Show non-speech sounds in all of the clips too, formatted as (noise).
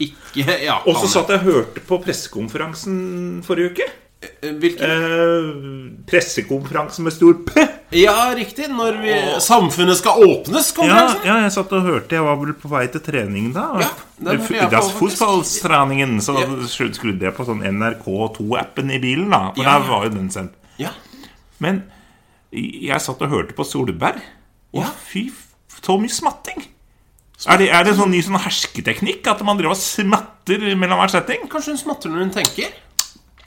Ikke ja, Og så kan- satt jeg og hørte på pressekonferansen forrige uke. Hvilken? Eh, pressekonferansen med stor P. Ja, riktig. Når vi, samfunnet skal åpnes, Ja, konferansen. ja, jeg satt og hørte. Jeg var vel på vei til trening da. Ja, den hørte jeg på, Das faktisk. Fußballstreningen. Så Ja. skru- skrudde jeg på sånn NRK2-appen i bilen, da. For Ja, der ja. var jo den sendt. Ja. Men jeg satt og hørte på Solberg. Å, Ja. fy f- Så mye smatting! Er det, er det sånn ny sånn hersketeknikk? At man driver og smatter mellom hver setting? Kanskje hun smatter når hun tenker?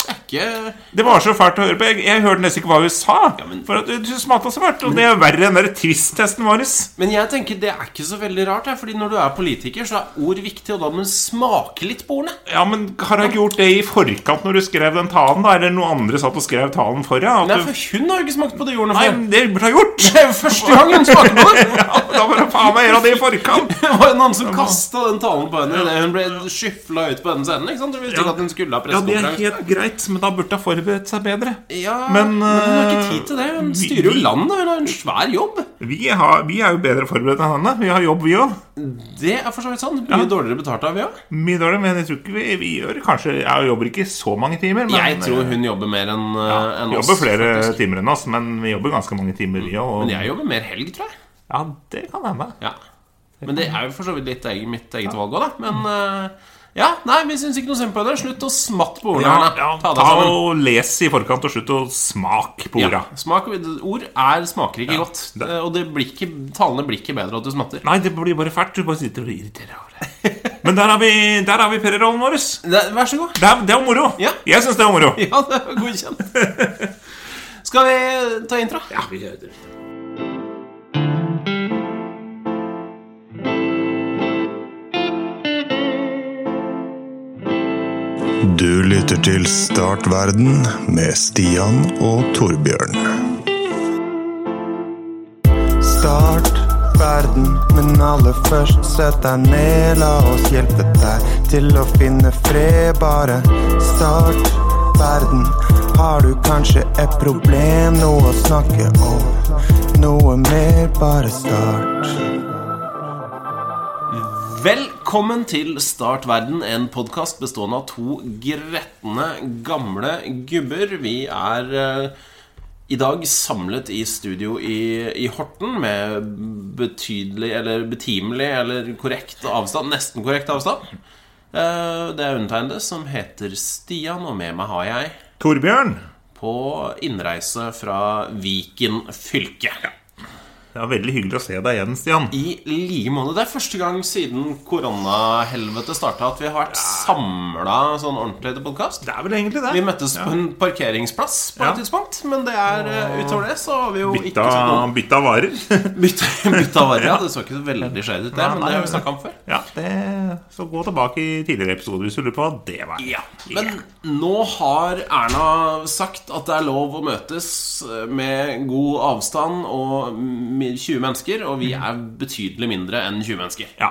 Det er ikke Det var så fælt å høre på. Jeg, jeg hørte nesten ikke hva hun sa. men- For at hun smatta så fælt. Og det er verre enn den der twist-testen vår. Men jeg tenker det er ikke så veldig rart, jeg, fordi når du er politiker, så er ord viktig, og da må du smake litt på ordene. Ja, men har hun ikke gjort det i forkant når du skrev den talen, da? Eller noen andre satt og skrev talen for deg? Nei, At for du, hun har jo ikke smakt på de ordene nei, før. men det burde hun ha gjort! (laughs) Det er jo første gang hun smaker på det! Ja, da må du faen meg gjøre det i forkant! Det var en annen som kasta den talen på henne idet hun ble skyfla ut på den scenen. ikke sant? Du visste ikke at hun skulle ha Ja, det er pressekonferanse. helt greit, men da burde hun forberedt seg bedre. Ja, Men, men, hun har eh, ikke tid til det. Hun vi- styrer jo vi- landet. Hun har en svær jobb. Vi, har, vi er jo bedre forberedt enn henne. Vi har jobb, vi òg. Det er for så vidt sant. Mye dårligere betalt av vi òg. Mye dårlig, men jeg tror ikke vi, vi gjør Kanskje jeg jobber ikke så mange timer. Men, Jeg tror hun jobber mer enn eh, enn Vi oss. jobber flere timer enn oss, men vi jobber ganske mange timer, vi òg. Men jeg jobber mer helg, tror jeg. Ja, det kan hende. Ja. Men det er jo for så vidt litt egen, mitt eget valg òg, da. Men eh, ja, nei, vi syns ikke noe synd på henne. Slutt å smatte på ordene. Ja, Arne. ja, Ta ta deg sammen. og Les i forkant, og slutt å smake på Ja, orda. smak, ord er, smaker ikke godt. det- Eh, Og det blir ikke, talene blir ikke bedre av at du smatter. Nei, det blir bare fælt. Du bare sitter og irriterer over det. Men der har vi, der har vi Perrerollen vår. Det Nei, Vær så god. (laughs) er, det er moro. Ja. Jeg syns det er moro. Ja, det var godkjent. (laughs) Skal vi ta intro? Ja, vi gjør det. Du lytter til Startverden med Stian og Torbjørn. Start verden, men aller først sett deg ned. La oss hjelpe deg til å finne fred. Bare start verden. Har du kanskje et problem, noe å snakke om? Noe mer, bare start. Velkommen til Start verden, en podkast bestående av to gretne, gamle gubber. Vi er eh, i dag samlet i studio i, i Horten med betydelig, eller betimelig, eller korrekt avstand. Nesten korrekt avstand. Eh, Det er undertegnede som heter Stian, og med meg har jeg Torbjørn. på innreise fra Viken fylke. Det var veldig hyggelig å se deg igjen, Stian. I like måte. Det er første gang siden koronahelvetet starta at vi har vært samla sånn ordentlig til podkast. Det er vel egentlig det. Vi møttes på en parkeringsplass på Ja. et tidspunkt, men det er eh, utover det så har vi jo Bytta, ikke sånn bytta varer. (laughs) bytta, bytta varer. Ja, det så ikke så veldig skjevt ut, det, men nei, det har nei. vi snakka om før. Ja, det, så gå tilbake i tidligere episoder hvis du lurer på hva det var. Ja, Men nå har Erna sagt at det er lov å møtes eh, med god avstand og mi- 20 mennesker, og vi Mm. er betydelig mindre enn 20 mennesker. Ja.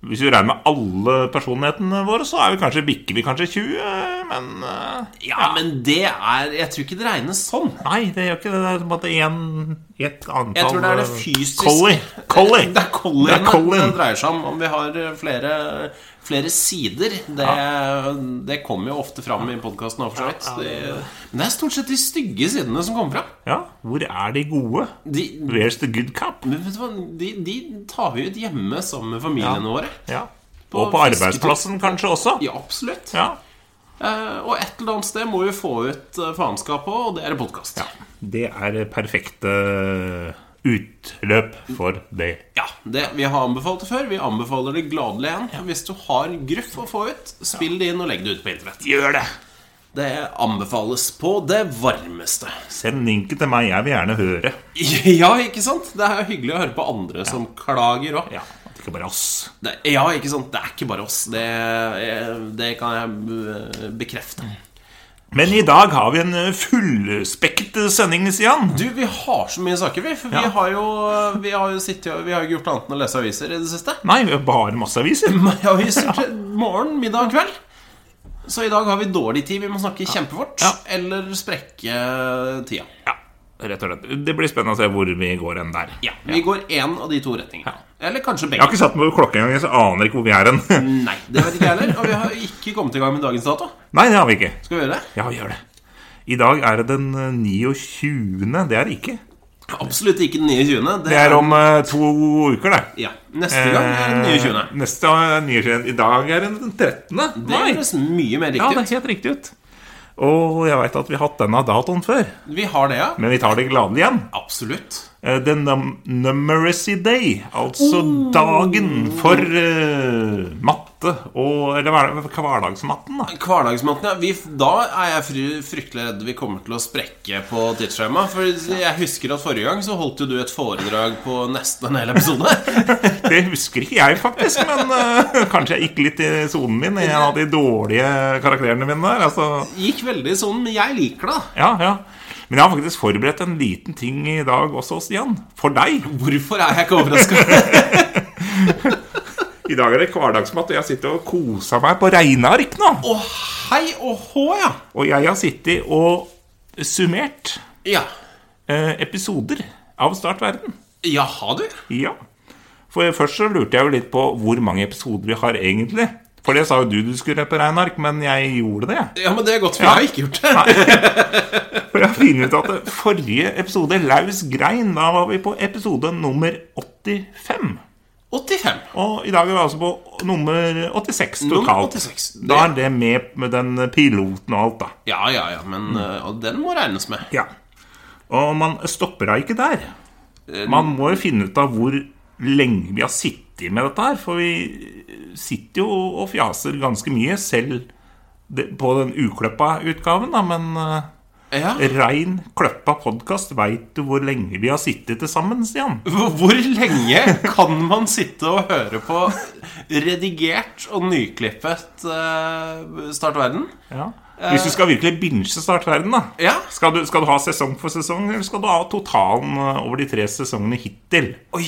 Hvis vi regner med alle personlighetene våre, så er vi kanskje, bikker vi kanskje 20, men eh, Ja, men det er Jeg tror ikke det regnes sånn. Nei, det gjør ikke det. Det er som at én i et antall Jeg tror det er det eh, fysiske Collie. Collie. Det er Det Colin er det, Colin. dreier seg om. Om vi har eh, flere, flere sider. Det, det kommer jo ofte fram i podkasten òg, for så vidt. Det- Men det er stort sett de stygge sidene som kommer fram. Ja, hvor er de gode? De, Where's the good cup? Men vet du hva, de, de tar vi ut hjemme sammen med familiene våre. Ja. På og på fisketur. arbeidsplassen kanskje også. Ja, absolutt. Ja. Eh, og et eller annet sted må vi få ut eh, faenskap på, og det er podkast. Det er perfekte eh, utløp for det. Ja, det, vi har anbefalt det før. Vi anbefaler det gladelig igjen. Hvis du har gruff å få ut, spill det inn og legg det ut på internett. Gjør det! Det anbefales på det varmeste. (laughs) Send linken til meg. Jeg vil gjerne høre. Ja, ikke sant? Det er hyggelig å høre på andre som klager òg. Ja, at det ikke bare er oss. Det, ja, ikke sant? Det er ikke bare oss. Det, eh, det kan jeg eh, bekrefte. Mm. Men i dag har vi en eh, fullspekket eh, sending, Stian. Du, vi har så mye saker, vi. For Ja. vi har jo Vi har jo sittet, og- vi har jo ikke gjort annet enn å lese aviser i det siste. (laughs) Nei, vi har bare masse aviser. Mange Aviser til morgen, middag og kveld. Så i dag har vi dårlig tid. Vi må snakke kjempefort. Ja. Eller sprekke tida. Ja, rett og slett. Det blir spennende å se hvor vi går enn der. Ja, Vi går én av de to retningene. Eller kanskje Jeg har begge. ikke satt meg på klokka engang, så jeg aner ikke hvor vi er hen. (laughs) Nei, det vet ikke jeg heller. Og vi har ikke kommet i gang med dagens dato. Nei, det har vi ikke. Skal vi gjøre det? Ja, vi gjør det. I dag er det den eh, 29. Det er det ikke. Absolutt ikke den 29. Det er om eh, to uker, det. Ja. Neste gang er den 29. Eh, Neste er den 29. I dag er det den 13. Det høres mye mer Ja, det riktig ut. er helt riktig ut. Og jeg veit at vi har hatt denne datoen før, Vi har det, ja. men vi tar det gladelig igjen. Absolutt. Eh, The num Numeracy Day, altså Oh. dagen for eh, matte og Eller hva er det- hverdagsmatten, da. Hverdagsmaten, ja. Vi, da er jeg fry, fryktelig redd vi kommer til å sprekke på tidsskjemaet. For jeg husker at forrige gang så holdt jo du et foredrag på nesten en hel episode. Det husker ikke jeg, faktisk, men eh, kanskje jeg gikk litt i sonen min. Jeg hadde de dårlige karakterene mine der. Altså, Gikk veldig sånn, men jeg liker det. da. ja, ja. Men jeg har faktisk forberedt en liten ting i dag også, Stian. For deg. Hvorfor er jeg ikke overraska? I dag er det hverdagsmat, og jeg sitter og koser meg på regneark nå. Å, hei og hå, ja. Og jeg har sittet og summert ja. eh, episoder av Start verden. Jaha, du. Ja. For først så lurte jeg jo litt på hvor mange episoder vi har egentlig. For det sa jo du du skulle gjøre på regneark, men jeg gjorde det. Ja, men det er godt, for jeg har ikke gjort det. For jeg har funnet ut at det forrige episode, Laus grein, da var vi på episode nummer 85. 85. Og i dag er vi altså på nummer 86 Nummer totalt. 86, det- Da er det med, med den piloten og alt, da. Ja, ja, ja, men eh, og den må regnes med. Ja. Og man stopper da ikke der. Eh, Man må jo finne ut av hvor lenge vi har sittet med dette her. For vi sitter jo og fjaser ganske mye, selv det- på den ukløppa utgaven, da. Men eh, Ja. rein kløppa podkast, veit du hvor lenge vi har sittet til sammen, Stian? (laughs) Hvor lenge kan man sitte og høre på redigert og nyklippet eh, Start verden? Ja. Hvis du skal virkelig binge startverden, da. Eh. Ja. Skal du, skal du ha sesong for sesong, eller skal du ha totalen eh, over de tre sesongene hittil? Oi,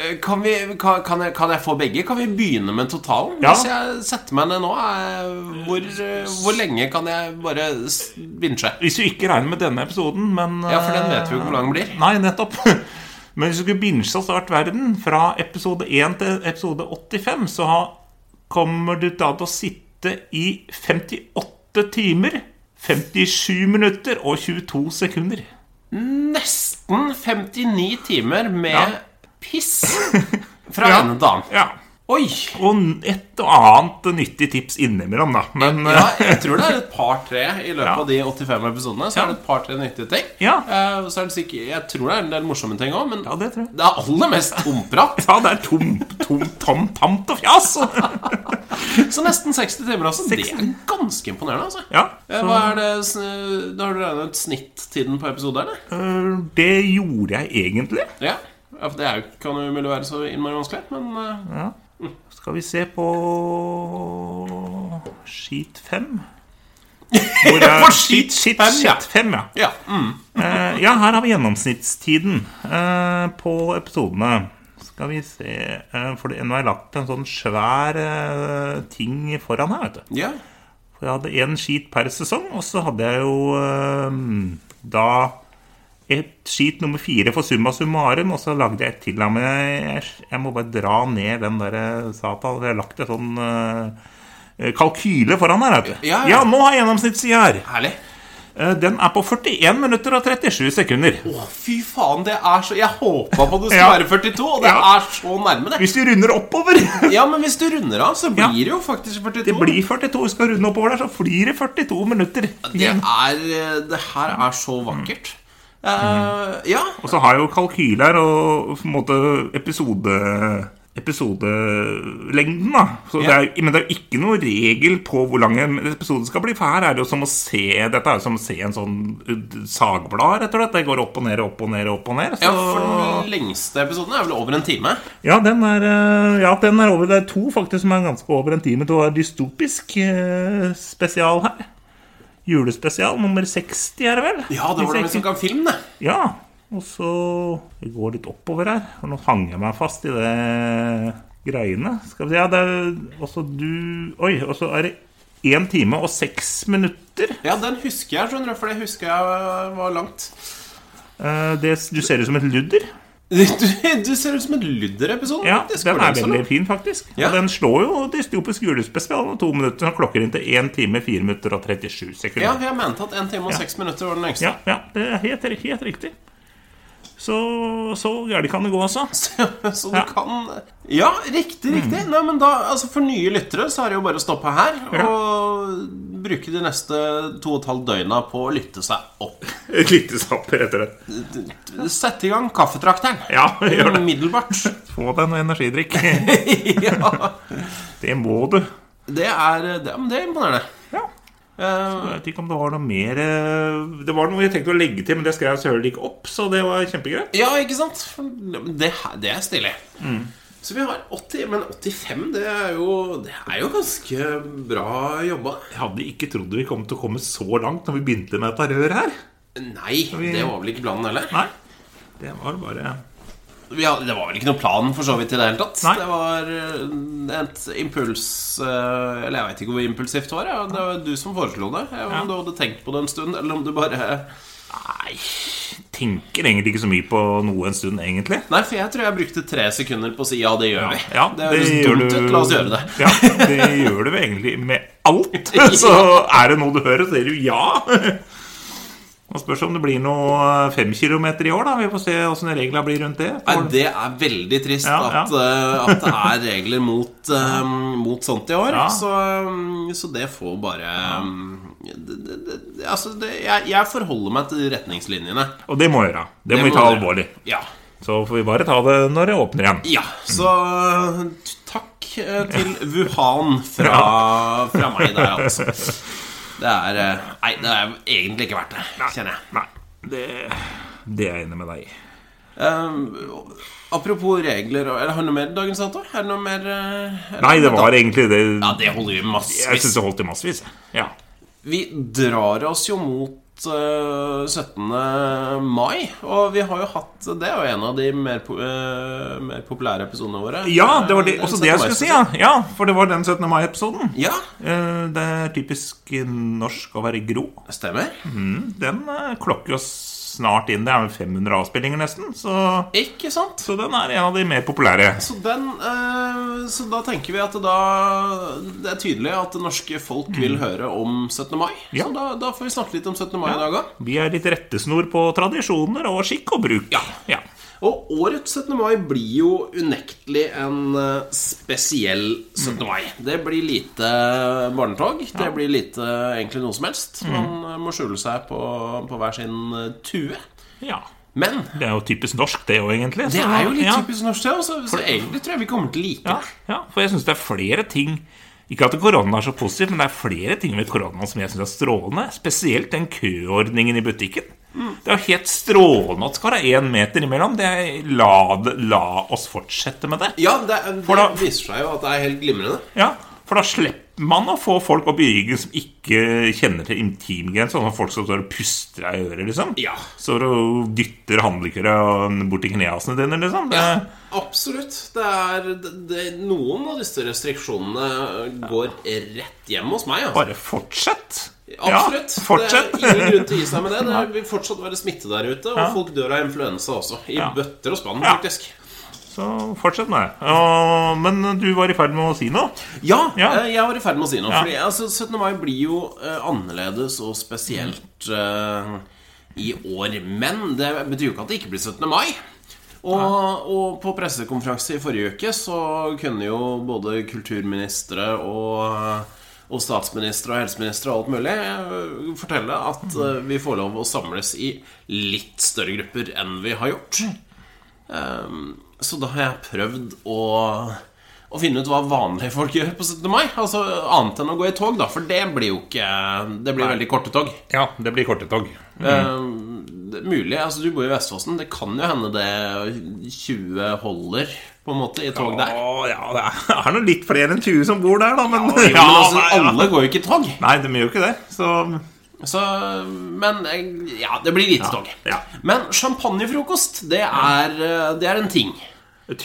eh, kan, vi, kan, kan, jeg, kan jeg få begge? Kan vi begynne med totalen? Ja. Hvis jeg setter meg ned nå, eh, hvor, eh, hvor lenge kan jeg bare s- binche? Hvis du ikke regner med denne episoden, men eh, Ja, for den vet vi jo ikke hvor lang den blir. Nei, nettopp. (laughs) Men hvis du skulle binge og starte verden fra episode 1 til episode 85, så ha- kommer du da til å sitte i 58 timer, 57 minutter og 22 sekunder. Nesten 59 timer med Ja. piss (laughs) fra ja. ende til annen. Ja. Oi! Og et og annet nyttig tips innimellom, da. Men eh, Ja, ja. jeg tror det er et par-tre i løpet Ja. av de 85 episodene. Så er det et par-tre nyttige ting. Ja. Eh, Så er det sikkert, jeg tror det er en del morsomme ting òg, men ja, det tror jeg. det er aller mest tomprat. Ja, det er tom, tom, tom, tamt (laughs) og fjas! Så nesten 60 timer, altså. Det 60. er ganske imponerende, altså. Ja, Eh, så- Hva er det sn- Da har du regnet ut snittiden på episoder, eller? Eh, Det gjorde jeg egentlig. Ja. ja for det er jo, kan jo umulig være så innmari vanskelig, men eh, Skal vi se på Skit 5? (laughs) På skit fem, ja. Skit 5, ja. ja. Mm. Eh, ja, her har vi gjennomsnittstiden eh, på episodene. Skal vi se eh, For det- nå har jeg lagt en sånn svær eh, ting foran her, vet du. ja. For jeg hadde én skit per sesong, og så hadde jeg jo eh, da et skit nummer fire for summa summarum, og så lagde jeg et til. da, Men jeg, jeg, jeg må bare dra ned den der eh, satan. Jeg har lagt en sånn eh, kalkyle foran her. vet du. Ja, ja. ja, nå har jeg gjennomsnittssida her. Herlig. Eh, Den er på 41 minutter og 37 sekunder. Å, fy faen, det er så Jeg håpa på det skulle Ja. være 42, og det Ja. er så nærme, det. Hvis vi runder oppover (laughs) Ja, men hvis du runder av, så blir Ja. det jo faktisk 42. Det blir 42. Vi skal runde oppover der, så blir det 42 minutter. Det igjen. er eh, Det her er så vakkert. Eh, ja. Og så har jeg jo kalkyler og på en måte episode episodelengden, da. Så det er, men det er jo ikke noe regel på hvor lang en episode skal bli. For her er det jo som å se Dette er jo som å se en sånn uh, sagblad, rett og slett. Det går opp og ned og opp og ned og opp og ned. ja, Så for den lengste episoden er vel over en time. ja, den er, uh, ja, den er over. Det er to faktisk som er ganske over en time. Det var dystopisk uh, spesial her. Julespesial nummer 60, er det vel? Ja, det var det Hvis jeg vi som kan filme, det. Ja, og så Vi går litt oppover her. Og nå hang jeg meg fast i det greiene. Skal vi se, ja, det er også du Oi, og så er det én time og seks minutter. Ja, den husker jeg, skjønner du, for det husker jeg var langt. Eh, det, du ser ut som et ludder. (laughs) Du, du ser ut som en ludderepisode. Ja, faktisk. den Går er det så veldig langt? fin, faktisk. Ja. Og den slår jo dystopisk julespesial med to minutter og klokker inn til 1 time, 4 minutter og 37 Ja, sekunder. jeg mente at 1 time og 6 minutter var den lengste. Ja, ja, det er helt, helt riktig. Så, så gærent kan det gå, altså. (laughs) Så du Ja. kan Ja, riktig, riktig. Nei, men da, altså For nye lyttere så er det jo bare å stoppe her Ja. og bruke de neste to og et halvt døgna på å lytte seg opp. Et lite sapp, rett og slett. Sette i gang kaffetrakteren. Ja, (laughs) gjør det. Umiddelbart. (laughs) Få deg noe energidrikk. ja. Det må du. Det er det, men det er imponerende. Ja. Eh, Jeg vet ikke om det var noe mer eh, Det var noe jeg tenkte å legge til, men det skrev jeg selvfølgelig ikke opp, så det var kjempegreit. ja, ikke sant? For Det, her- det er stilig. Mm. Så vi har 80, men 85, det er jo, det er jo ganske bra jobba. Jeg hadde ikke trodd vi kom til å komme så langt når vi begynte med dette røret her. Nei, det var vel ikke planen heller? Nei. Det var bare Vi hadde, det var vel ikke noen plan for så vidt i det hele tatt. Nei. Det var eh, et impuls eh, Eller jeg veit ikke hvor impulsivt det var. ja. Det var du som foreslo det. Eh, Om Ja. du hadde tenkt på det en stund, eller om du bare Nei. Tenker egentlig ikke så mye på noe en stund, egentlig. Nei, for jeg tror jeg brukte tre sekunder på å si ja, det gjør vi. Ja, det høres dumt ut. La oss gjøre det. (laughs) Ja, det gjør du vel egentlig med alt. (laughs) Så er det noe du hører, så sier du ja. (laughs) Man spørs om det blir noe fem kilometer i år, da. Vi får se åssen reglene blir rundt det. Nei, det er veldig trist Ja, ja. At, eh, at det er regler mot, eh, mot sånt i år. Ja. Så, eh, så det får bare eh, det, det, det, Altså, det, jeg, jeg forholder meg til retningslinjene. Og det må vi gjøre. Det, må Det vi ta dere- alvorlig. Ja Så får vi bare ta det når det åpner igjen. Ja, så t- takk eh, til Wuhan fra, fra meg der, altså. Det er eh, Nei, det er egentlig ikke verdt det, kjenner jeg. Nei, det, det er jeg enig med deg i. Eh, apropos regler og Eller har du noe mer dagens dato? Er det noe mer eh, Nei, det var egentlig det. Ja, det holder vi Jeg syns massevis. det holdt i massevis. Ja. Vi drar oss jo mot eh, 17. mai, og vi har jo hatt Det er jo en av de mer, po eh, mer populære episodene våre. ja, det var det, Eh, også 17. det jeg skulle si. Ja. mai-spesial. ja, For det var den 17. mai-episoden. Ja, Eh, Det er typisk norsk å være grå. stemmer. Den eh, klokker oss snart inn. Det er vel 500 avspillinger, nesten. Så, Ikke sant? så den er en av de mer populære. Så, den, eh, så da tenker vi at det da, det er tydelig at det norske folk vil høre om 17. mai. Mm. Ja. Så da, da får vi snakke litt om 17. mai i dag òg. Vi er litt rettesnor på tradisjoner og skikk og bruk. ja. Og årets 17. mai blir jo unektelig en eh, spesiell 17. mai. Det blir lite eh, barnetog. Det blir lite eh, egentlig noe som helst. Mhm. Man eh, må skjule seg på, på hver sin eh, tue. ja. Men Det er jo typisk norsk, det òg, egentlig. det Så- er jo litt ja. typisk norsk, det. også, Så egentlig tror jeg vi kommer til å like Ja, det. ja, for jeg syns det er flere ting Ikke at korona er så positivt, men det er flere ting ved korona som jeg syns er strålende. Spesielt den køordningen i butikken. Mm. Det er jo helt strålende at det skal være én meter imellom. Det er, la, det- la oss fortsette med det. Ja, det, For det da- viser seg jo at det er helt glimrende. Ja, For da slipper man å få folk opp i ryggen som ikke kjenner til intimgrensa. Sånn folk som står og puster deg i øret, liksom. Ja. Står og dytter handlekøya bort til knærne dine, liksom. Det, Ja, absolutt. Det er, det, det, noen av disse restriksjonene går rett hjem hos meg. Altså. Bare fortsett. Absolutt. Ja, fortsett. Det er ingen grunn til å gi seg med det. Det vil fortsatt være smitte der ute, og folk dør av influensa også. I Ja. bøtter og spann, Ja. faktisk. (laughs) Så fortsett med det. Og- Men du var i ferd med å si noe. Ja, Ja. eh, jeg var i ferd med å si noe. Fordi altså, 17. mai blir jo eh, annerledes og spesielt eh, i år. Men det betyr jo ikke at det ikke blir 17. mai. Og, og på pressekonferanse i forrige uke så kunne jo både kulturministre og, eh, og statsministre og helseministre og alt mulig eh, fortelle at eh, vi får lov å samles i litt større grupper enn vi har gjort. Ehm, Så da har jeg prøvd å, å finne ut hva vanlige folk gjør på 17. mai. Altså Annet enn å gå i tog, da, for det blir jo ikke Det blir veldig korte tog. Ja, det blir korte tog. Ehm, det er mulig, altså Du bor i Vestfossen. Det kan jo hende det 20 holder på en måte i tog der. Å, ja, det er, (laughs) er nå litt flere enn 20 som bor der, da, men Jo, men altså, nei, ja. alle går jo ikke i tog. Nei, de gjør jo ikke det. Så Så, men eh, ja, det blir lite tog. ja. Men champagnefrokost, det er, eh, det er en ting,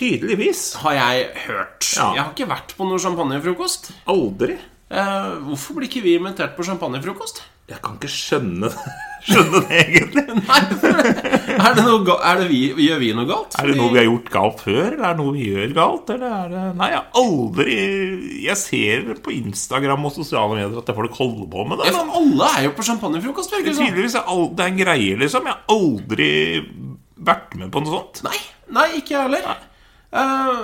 tydeligvis har jeg hørt. Ja. Jeg har ikke vært på noe champagnefrokost. aldri. Eh, hvorfor blir ikke vi invitert på champagnefrokost? Jeg kan ikke skjønne det, (laughs) skjønne det egentlig. Nei, er det noe, ga- er det vi, gjør vi noe galt? Er det noe vi har gjort galt før, eller er det noe vi gjør galt? Eller er det Nei, jeg har aldri Jeg ser på Instagram og sosiale medier at folk holder på med det. Ja, men men alle er jo på champagnefrokost, virker det som. Tydeligvis er alt, det er en greie, liksom. Jeg har aldri vært med på noe sånt. Nei, nei, ikke jeg heller. Eh,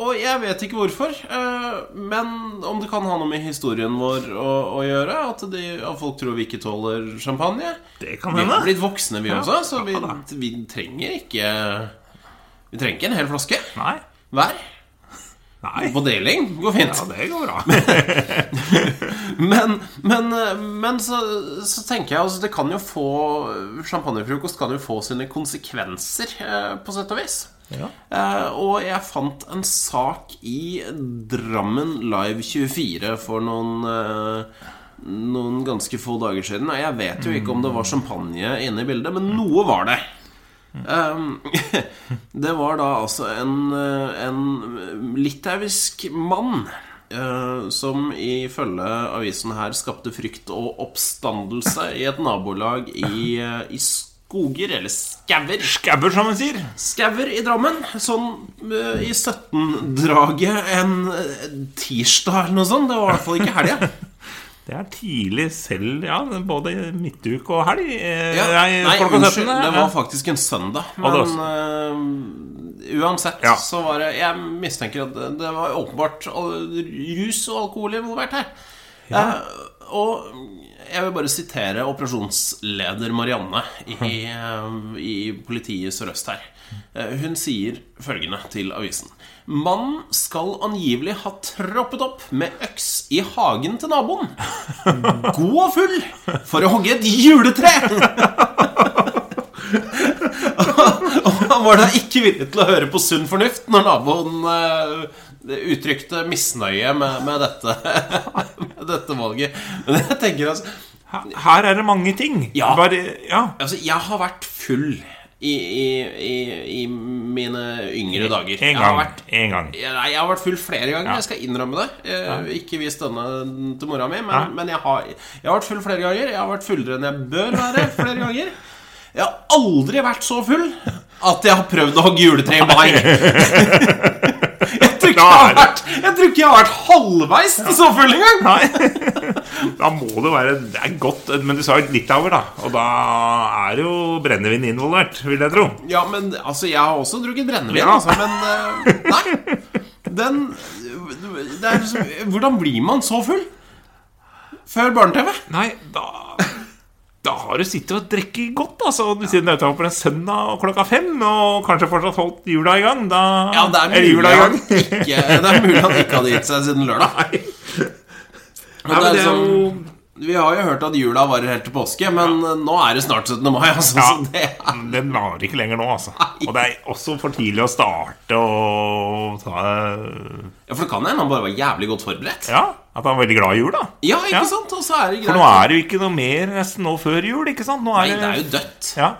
og jeg vet ikke hvorfor. eh, men om det kan ha noe med historien vår å, å gjøre, at, de, at folk tror vi ikke tåler champagne. Det kan Vi hende. har blitt voksne, vi også, så vi, ja da. vi trenger ikke Vi trenger ikke en hel flaske Nei. hver. Nei. På deling går fint. Ja, det går bra. Men, men, men så, så tenker jeg altså, det kan jo få Champagnefrokost kan jo få sine konsekvenser, eh, på sett og vis. Ja. Eh, og jeg fant en sak i Drammen Live 24 for noen eh, noen ganske få dager siden. Og jeg vet jo ikke om det var champagne inne i bildet, men noe var det. Um, (laughs) det var da altså en, eh, en litauisk mann eh, som ifølge avisen her skapte frykt og oppstandelse i et nabolag i, eh, i skoger, eller skauer. (laughs) Skabber, som man sier. Skauer i Drammen, sånn eh, i 17-draget en eh, tirsdag eller noe sånt. Det var i hvert fall ikke helga. Det er tidlig selv, ja. Både midtuke og helg. eh, Ja. nei, Nei, klokka eh, unnskyld, 17, det ja. var faktisk en søndag. Ja, det Men var eh, uansett Ja. så var det Jeg mistenker at det- det var åpenbart al- rus og alkohol involvert her. Eh, og jeg vil bare sitere operasjonsleder Marianne Hm. i, eh, i politiet Sør-Øst her. Eh, Hun sier følgende til avisen. Mannen skal angivelig ha troppet opp med øks i hagen til (laughs) naboen. God og full for å hogge et juletre! Og (laughs) han var da ikke villig til å høre på sunn fornuft når naboen eh, uttrykte misnøye med, med, dette, (laughs) med dette valget. Men jeg tenker altså, Her- Her er det mange ting. Ja. Bare, ja. altså Jeg har vært full i, i, i, i mine yngre dager. En Jeg har gang. vært En gang. jeg- Nei, jeg har vært full flere ganger. Jeg skal innrømme det. Eh, Ikke vis denne til mora mi, men, men jeg, har, jeg har vært full flere ganger. Jeg har vært fullere enn jeg bør være flere ganger. Jeg har aldri vært så full at jeg har prøvd å hogge juletre i mai. Jeg tror, ikke (laughs) jeg, har vært, jeg tror ikke jeg har vært halvveis til så full engang! Nei. (laughs) Da må det være Det er godt, men du sa jo Litauer, da. Og da er jo brennevin involvert, vil jeg tro. Ja, men altså, jeg har også drukket brennevin, Ja. altså, men eh, Nei. Den det er, liksom- Hvordan blir man så full? Før barne-TV? Nei, da Da har du sittet og drukket godt, altså. Og du sier nøyta på en søndag og klokka fem, og kanskje fortsatt holdt jula i gang. Da Ja, det er Eller mulig jula i han gang. ikke, det er mulig han ikke hadde gitt seg siden lørdag. (laughs) Nei, Men det er liksom, (laughs) vi har jo hørt at jula varer helt til påske, men eh, nå er det snart 17. mai. Altså, ja, så det er Den varer ikke lenger nå, altså. Og det er også for tidlig å starte og ta Ja, For det kan hende han bare var jævlig godt forberedt. Ja, at han er veldig glad i jul, da. Ja, ikke sant? Og så er det greit. For nå er det jo ikke noe mer nesten nå før jul, ikke sant? Nå er Nei, det er jo dødt. Ja.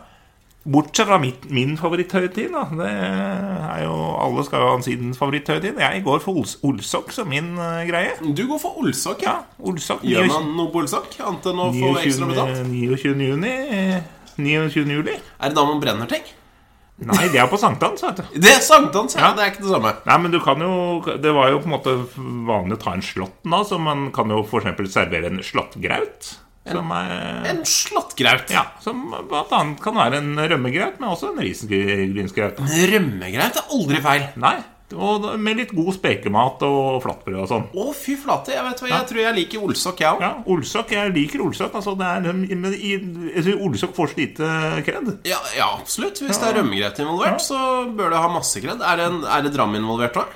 Bortsett fra mitt, min favoritthøytid, da. Det er jo, alle skal jo ha sin favoritthøytid. Jeg går for Ols Olsok som min eh, greie. Du går for olsokk, Ja, ja. Olsok. Gjør man noe på olsokk? Annet enn å få ekstra 29. betalt? 29. juni. eh, 29. juli. Er det da man brenner ting? Nei, det er på sankthans, vet du. Det er sankthans, ja. Ja. Det er ikke det samme. Nei, men du kan jo Det var jo på en måte vanlig å ta en slåtten, da, så man kan jo f.eks. servere en slåttgraut. Som er En slåttgraut. Ja, som blant annet kan være en rømmegraut, men også en risengrynsgraut. Rømmegraut er aldri feil. Nei, og da- med litt god spekemat og flatbrød og sånn. Å, fy flate. Jeg vet hva, jeg tror jeg liker olsokk, jeg òg. Ja, Olsok, jeg liker Olsok. Altså, det er, men i- jeg tror Olsok får så lite kred. Ja, ja absolutt. Hvis det er rømmegrøt involvert, så bør det ha masse kred. Er det, en- er det dram involvert òg?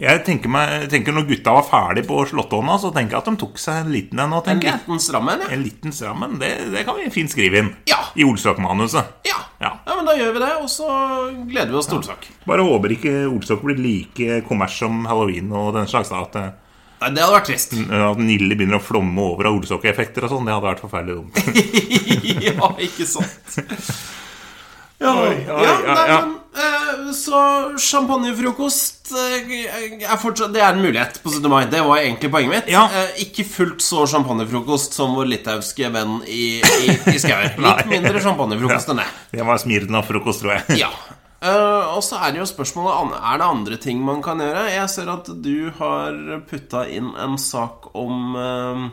Jeg tenker, meg, jeg tenker når gutta var ferdig på Slåttåna, så tenker jeg at de tok seg en liten en. nå, En tenker jeg. liten stram en, ja. En liten strammen, det, det kan vi fint skrive inn Ja. i Olsok-manuset. ja. Ja. Ja, men Da gjør vi det, og så gleder vi oss til Olsak. Bare håper ikke Olsok blir like kommers som halloween og den slags. da, At, eh, Nei, det hadde vært trist. at Nille begynner å flomme over av Olsok-effekter og sånn. Det hadde vært forferdelig (laughs) dumt. (laughs) ja, ikke sant. Ja, Oi, ja, oi, ja, nei, ja. men eh, så champagnefrokost eh, er fortsatt Det er en mulighet på 17. mai. Det var egentlig poenget mitt. Ja. Eh, Ikke fullt så champagnefrokost som vår litauiske venn i, i, i Skauer. (laughs) Nei. Litt mindre champagnefrokost enn det. Det var Smirnov-frokost, tror jeg. Ja. Eh, og så er det jo spørsmålet an- Er det andre ting man kan gjøre. Jeg ser at du har putta inn en sak om eh,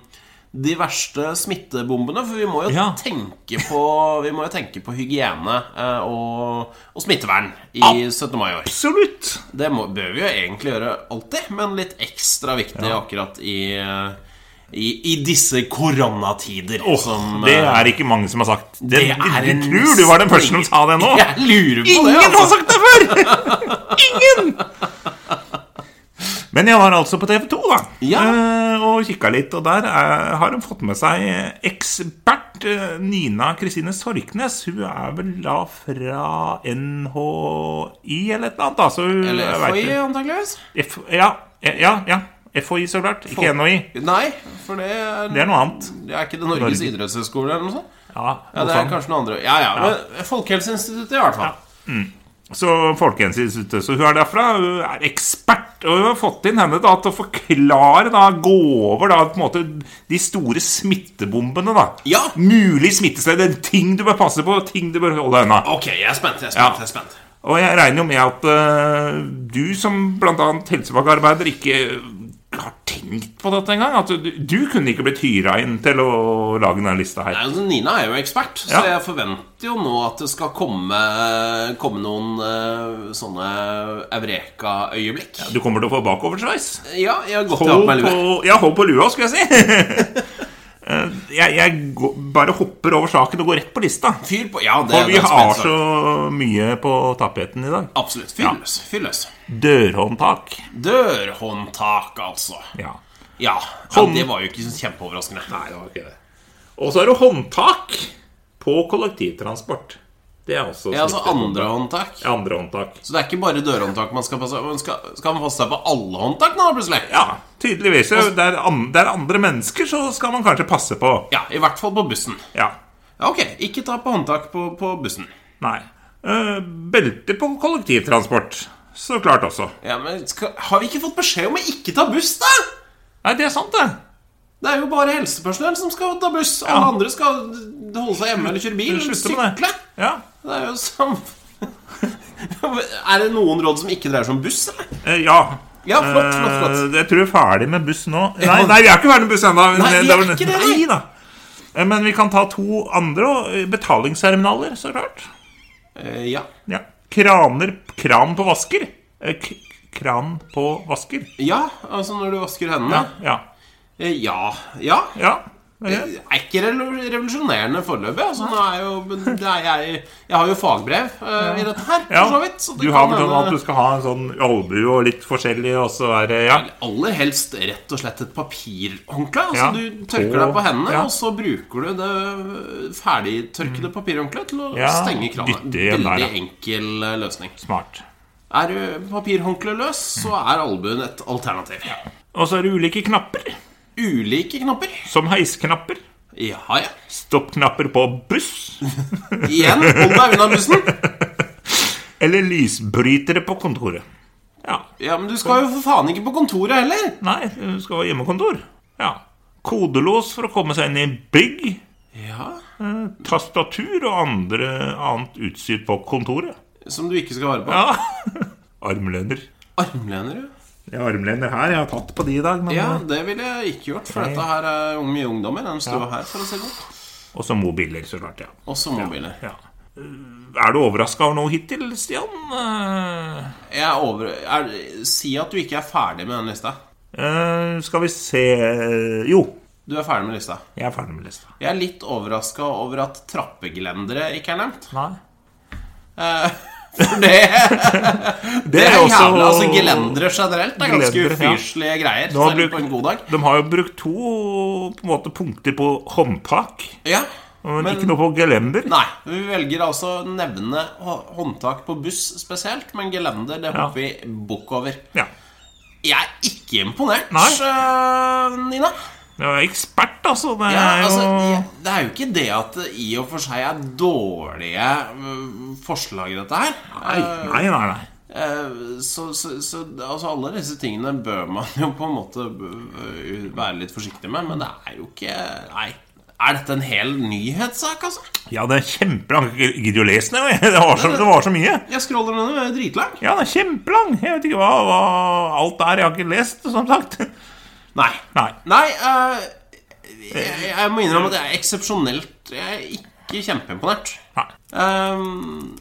de verste smittebombene. For vi må jo, Ja. tenke, på, vi må jo tenke på hygiene eh, og, og smittevern i 17. mai i år. Absolutt! Det må, bør vi jo egentlig gjøre alltid, men litt ekstra viktig akkurat i, eh, i, i disse koronatider. Åh, som, det eh, er ikke mange som har sagt. Det, det er jeg en tror du var den første som sa det nå. eh, (laughs) Jeg lurer på Ingen det. altså. har sagt det altså- (laughs) før! Ingen! Men jeg var altså på TV 2 da Ja. eh, og kikka litt, og der eh, har hun fått med seg eh, ekspert eh, Nina Kristine Sorknes. Hun er vel da fra NHI eller et eller annet, da. Så hun Eller jeg vet FHI, ikke. antakeligvis. F, ja, eh, ja, ja. FHI, så klart. Ikke NHI. Nei, for det er, Det er noe annet. det er ikke det Norges Norge. idrettshøgskole eller noe sånt? Ja, Ja, noe det er sånn. kanskje noe andre Ja, ja, men Folkehelseinstituttet i hvert fall. Så Folkehelseinstituttet. Så hun er derfra. Hun er ekspert. Og hun har fått inn henne da til å forklare, da, gå over da, på en måte de store smittebombene. da Ja. Mulige smittesteder. Ting du bør passe på, ting du bør holde unna. Ok, jeg er spent. jeg er spent, Ja. jeg er spent Og jeg regner jo med at eh, du som bl.a. helsefagarbeider ikke har tenkt på dette engang. At du, du kunne ikke blitt hyra inn til å lage denne lista her. Nei, altså, Nina er jo ekspert, Ja. så jeg forventer jo nå at det skal komme, komme noen eh, sånne Eureka-øyeblikk. Du kommer til å få bakoversveis. Ja, jeg har gått i Hold alt med på, lue. ja, hold på lua, skulle jeg si. (laughs) Eh, jeg jeg går, bare hopper over saken og går rett på lista. Fyr på. Ja, det, For vi det er har spennende. så mye på tapeten i dag. Absolutt. Fyr Ja. løs. Fyr løs. Dørhåndtak. Dørhåndtak, altså. Ja. Ja. ja. Hånd- Det var jo ikke så kjempeoverraskende. Nei, det var ikke det. Og så er det håndtak på kollektivtransport. Det er også Ja, altså smittehåndtak. andrehåndtak. Ja, andre håndtak. Så det er ikke bare dørhåndtak man skal passe man skal, skal man passe seg på alle håndtak nå, plutselig? Ja, tydeligvis. Det er, an, det er andre mennesker, så skal man kanskje passe på. Ja, I hvert fall på bussen. Ja. Ja, ok, ikke ta på håndtak på, på bussen. Nei. Eh, belte på kollektivtransport. Så klart også. Ja, men skal, Har vi ikke fått beskjed om å ikke ta buss, da? Nei, det er sant, det. Det er jo bare helsepersonell som skal ta buss. Alle andre skal holde seg hjemme eller kjøre bil. Eller Slutte med sykle. det. Ja. Det er jo sam... (laughs) er det noen råd som ikke dreier seg om buss, eller? Eh, ja. Ja, flott, flott, flott. Eh, jeg tror vi er ferdig med buss nå. Nei, nei, vi er ikke ferdig med buss ennå. Nei, vi Det er var- ikke det, nei. Nei da. Eh, Men vi kan ta to andre og, eh, betalingsterminaler, så klart. Eh, ja. Ja. Kraner Kran på vasker. Eh, K kran på vasker. ja, altså når du vasker hendene. Ja. Ja. Eh, ja. ja. ja. det er greit. Det er ikke revol- revolusjonerende foreløpig. Altså, nå er jo, men det er jeg, jeg har jo fagbrev eh, i dette her, for så vidt. Så ja. det Du har kan vel sånn hende- at du skal ha en sånn albue og litt forskjellig, og så er det Ja. Aller helst rett og slett et papirhåndkle. Altså, Ja. Du tørker På- deg på hendene, ja. Mm. og så bruker du det ferdigtørkede papirhåndkleet til å Ja, stenge kranen. dytte igjen der, Veldig ja. enkel eh, løsning. Smart. Er du papirhåndkle løs, Mm. så er albuen et alternativ. Og så er det ulike knapper. Ulike knapper. Som heisknapper. Ja, ja. Stoppknapper på buss. Igjen, hold deg unna bussen. Eller lysbrytere på kontoret. Ja. Ja, Men du skal jo for faen ikke på kontoret heller. Nei, du skal ha hjemmekontor. Ja. Kodelås for å komme seg inn i bygg. Ja, Tastatur og andre, annet utstyr på kontoret. Som du ikke skal vare på. Ja. (laughs) Armlener. Armlener, jo. Ja, armlener her. Jeg har tatt på de i dag. Men... eh, Ja, det ville jeg ikke gjort, for dette her er unge ungdommer. Den står her for å se godt. Og så mobiler, så klart. ja. Også mobiler. ja. Eh, Er du overraska over noe hittil, Stian? Eh, Jeg er over... Er... Si at du ikke er ferdig med den lista. eh, skal vi se Jo, Du er ferdig med lista. jeg er ferdig med lista. Jeg er lilitt overraska over at trappegelendere ikke er nevnt. Nei. Eh, (laughs) For det, Det, det er jo også- jævla Altså, gelendere generelt er ganske Gelendere, ja. ufyselige greier. Nå Særlig bruk- på en god dag. De har jo brukt to på en måte, punkter på håndtak, Ja. men, ikke noe på gelender. Nei. Vi velger altså å nevne hå- håndtak på buss spesielt, men gelender det Ja. hopper vi bukk over. Ja. Jeg er ikke imponert, Nei. eh, Nina. Du er ekspert, altså. Det Ja, er jo altså, jeg- det er jo ikke det at det i og for seg er dårlige øh, forslag, dette her. Nei, nei, nei. nei. Eh, Så, så, så altså, alle disse tingene bør man jo på en måte øh, være litt forsiktig med, men det er jo ikke Nei. Er dette en hel nyhetssak, altså? Ja, det er kjempelang. Jeg gidder jo å lese den. jeg. (laughs) Det var så, det var så mye. Jeg scroller ned, den er dritlang. Ja, den er kjempelang. Jeg vet ikke hva, hva Alt der jeg har ikke lest, som sagt. (laughs) Nei. Nei. Nei, eh, jeg, jeg må innrømme at jeg er eksepsjonelt Jeg er ikke kjempeimponert. Nei. Ehm,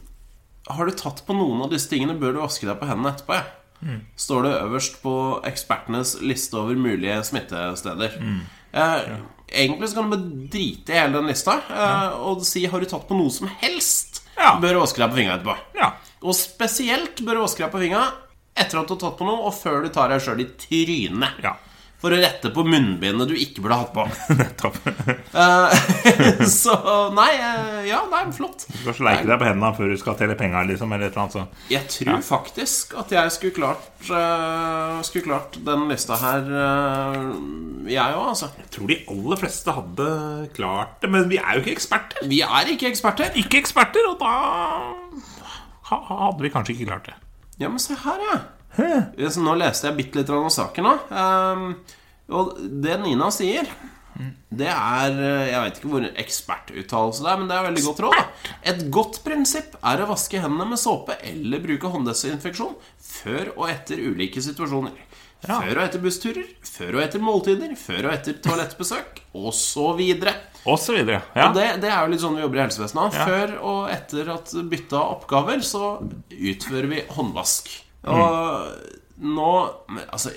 har du tatt på noen av disse tingene, bør du vaske deg på hendene etterpå. Ja. Mm. Står det øverst på ekspertenes liste over mulige smittesteder. Mm. Eh, Egentlig så kan du bare drite i hele den lista eh, og si 'har du tatt på noe som helst', Ja. bør du vaske deg på fingra etterpå. Ja. (laughs) Og spesielt bør du vaske deg på fingra etter at du har tatt på noe, og før du tar deg sjøl i trynet. Ja. For å rette på munnbindet du ikke burde hatt på. (laughs) Nettopp. Du Eh, så nei, eh, ja, nei, flott. skal sleike deg på hendene før du skal telle penger, liksom, eller et eller annet. Så. Jeg tror faktisk at jeg skulle klart, eh, skulle klart den lista her, eh, jeg òg, altså. Jeg tror de aller fleste hadde klart det, men vi er jo ikke eksperter. Vi er ikke eksperter. Ikke eksperter, og da ha- hadde vi kanskje ikke klart det. Ja, men se her, ja. Ja, Så nå leste jeg bitte litt om saken nå. Ehm, og det Nina sier det er eh, Jeg vet ikke hvor ekspertuttalelse det er, men det er veldig godt råd. da Et godt prinsipp er å vaske hendene med såpe eller bruke hånddesinfeksjon før og etter ulike situasjoner. Før og etter bussturer, før og etter måltider, før og etter toalettbesøk osv. Og så videre. Ja. Det, det er jo litt sånn vi jobber i helsevesenet. også. Før og etter at bytta oppgaver, så utfører vi håndvask. Og nå men, Altså,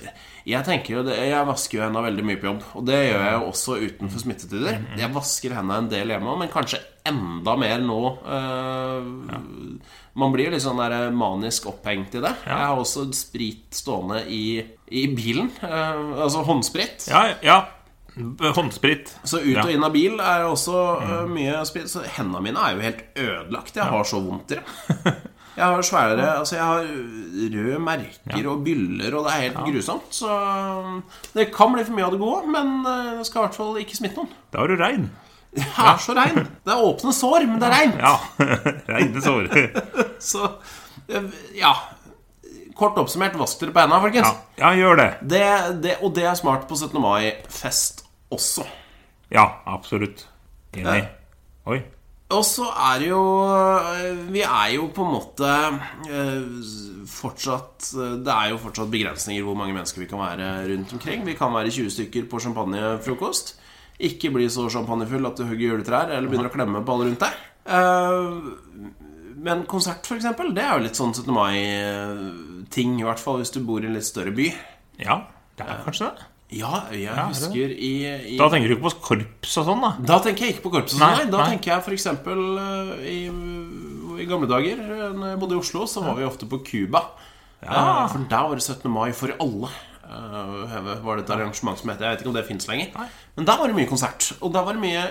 jeg tenker jo det, Jeg vasker jo hendene veldig mye på jobb. Og det gjør jeg jo også utenfor smittetider. Jeg vasker hendene en del hjemme, men kanskje enda mer nå. eh, Man blir jo litt sånn der manisk opphengt i det. Jeg har også sprit stående i, i bilen. eh, altså håndsprit. Ja, ja. Håndsprit. Så ut og Ja. Mm. inn av bil er også eh, mye spill. Så hendene mine er jo helt ødelagt. Jeg har så vondt (laughs) i det. Jeg har svære Altså, jeg har røde merker og byller, og det er helt grusomt. Så mm, det kan bli for mye av det gode, men eh, skal i hvert fall ikke smitte noen. Da er du rein. Det er så regn. Det er åpne sår, men det er regn. Ja. Reine sår. Så eh, ja. Kort oppsummert, vask dere på hendene, Ja. folkens. ja, gjør det. Det, det, og det er smart på 17. mai-fest også. Ja, absolutt. Enig. Oi. Og så er det jo eh, Vi er jo på en måte eh, fortsatt eh, Det er jo fortsatt begrensninger hvor mange mennesker vi kan være rundt omkring. Vi kan være 20 stykker på champagnefrokost. Ikke bli så champagnefull at du hugger juletrær eller begynner å klemme på alle rundt deg. Eh, Men konsert, for eksempel, det er jo litt sånn 17. mai-ting. I hvert fall hvis du bor i en litt større by. Ja, det er kanskje det. Ja, jeg er det? husker i, i Da tenker du ikke på korps og sånn, da? Da tenker jeg ikke på korpset. Nei, Nei, Da nei. tenker jeg for eksempel eh, i, I gamle dager, eh, når jeg bodde i Oslo, så var vi ofte på Cuba. Eh, For der var det 17. mai for alle. Eh, var det et arrangement som het Jeg vet ikke om det fins lenger. Men der var det mye konsert. Og der var det mye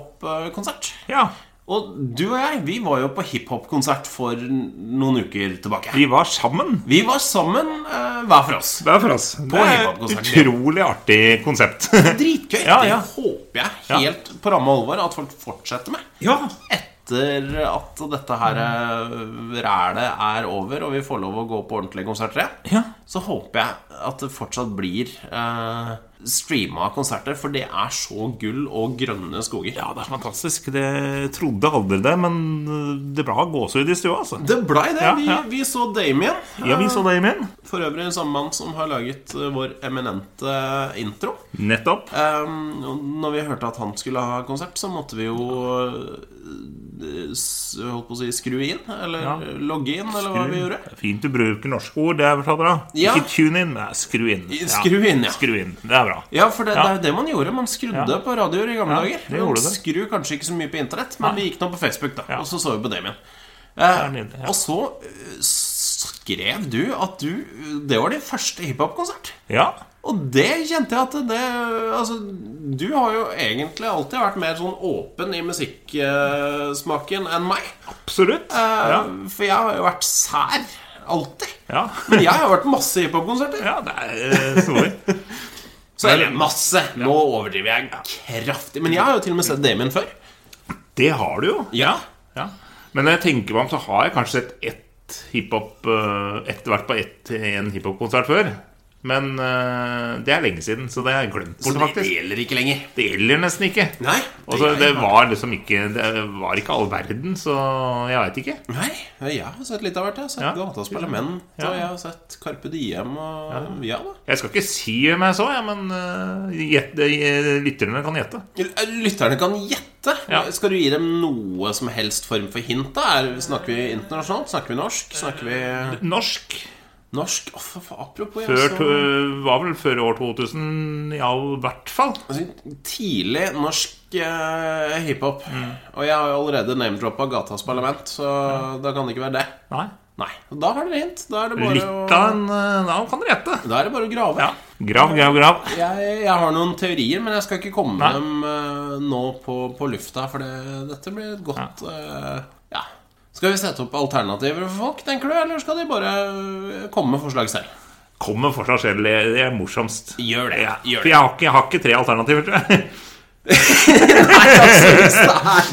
hiphop-konsert. Ja. Og du og jeg, vi var jo på hiphop-konsert for n- noen uker tilbake. Vi var sammen. Vi var sammen eh, hver for oss. Det er for oss. Det er et hiphop-konsert. utrolig artig konsept. (laughs) Dritgøy. Ja, ja. Det håper jeg helt på ramme alvor at folk fortsetter med. ja. etter at dette her eh, rælet er over, og vi får lov å gå på ordentlige konserter igjen, Ja. så håper jeg at det fortsatt blir eh, streama konserter, for det er så gull og grønne skoger. Ja, det er fantastisk. Det trodde aldri det, men det ble gåsehud i stua, altså. Det blei det. Ja, vi, ja. vi så Damien. Ja, vi så det, Emil. For øvrig samme mann som har laget eh, vår eminente eh, intro. Nettopp. Um, og når vi hørte at han skulle ha konsert, så måtte vi jo eh, s- holdt på å si skru inn, eller Ja. logge inn, eller hva vi gjorde. Fint du bruker norske ord. Det er vel så bra. Ja. Ikke tune in, men skru inn. Skru inn, ja. Skru inn. Det er bra. Ja, for det, Ja. det er jo det man gjorde. Man skrudde Ja. på radioer i gamle Ja, dager. det gjorde Man det. skrur kanskje ikke så mye på internett, men vi gikk nå på Facebook, da. Ja. Og så så vi på Damien. er nydelig, ja. Og så eh, skrev du at du Det var din første hiphop-konsert. Ja. Og det kjente jeg at det Altså, du har jo egentlig alltid vært mer sånn åpen i musikksmaken enn meg. Absolutt. Eh, Ja. For jeg har jo vært sær. Alltid. Ja. (laughs) Men jeg har vært masse hiphop-konserter. ja, det er eh, snodig. Så er det masse. Nå overdriver jeg kraftig. Men jeg har jo til og med sett Damien før. Det har du jo. Ja Ja. Men når jeg tenker meg om, så har jeg kanskje sett ett hiphop eh, ett, vært på ett, en hiphop-konsert før. Men eh, det er lenge siden, så det har jeg glemt Så bort, det faktisk. gjelder ikke lenger. Det gjelder nesten ikke. Nei, Og så det det er- var liksom ikke Det var ikke all verden, så jeg veit ikke. Nei, jeg har sett litt av hvert. Jeg har sett Ja. Gatas Parlament, Ja. og jeg har sett Carpe Diem og Ja da. Jeg skal ikke si hvem jeg så, jeg, men eh, gjett- eh, lytterne kan gjette. Lytterne kan gjette. Ja. Skal du gi dem noe som helst form for hint? da? Er, snakker vi internasjonalt? Snakker vi norsk? Snakker vi Norsk norsk? Å, for faen, apropos jeg, før, så- to- var vel før år 2000, i all hvert fall. altså, Tidlig norsk eh, hiphop. Mm. Og jeg har jo allerede name-droppa Gatas Parlament, så da kan det ikke være det. Nei. Nei, og Da har dere hint. Da er det bare, Litt å, av en eh, navn kan dere gjette. da er det bare å grave. Ja. Grav, grav, grav. Jeg, jeg har noen teorier, men jeg skal ikke komme Nei. med dem eh, nå på, på lufta, for det, dette blir et godt eh, ja. Skal vi sette opp alternativer for folk, tenker du, eller skal de bare eh, komme med forslag selv? Kom med forslag selv. Det det er morsomst. Gjør det. Ja, Gjør For det. (laughs) jeg har, ikke, jeg har ikke tre alternativer, tror jeg. (laughs)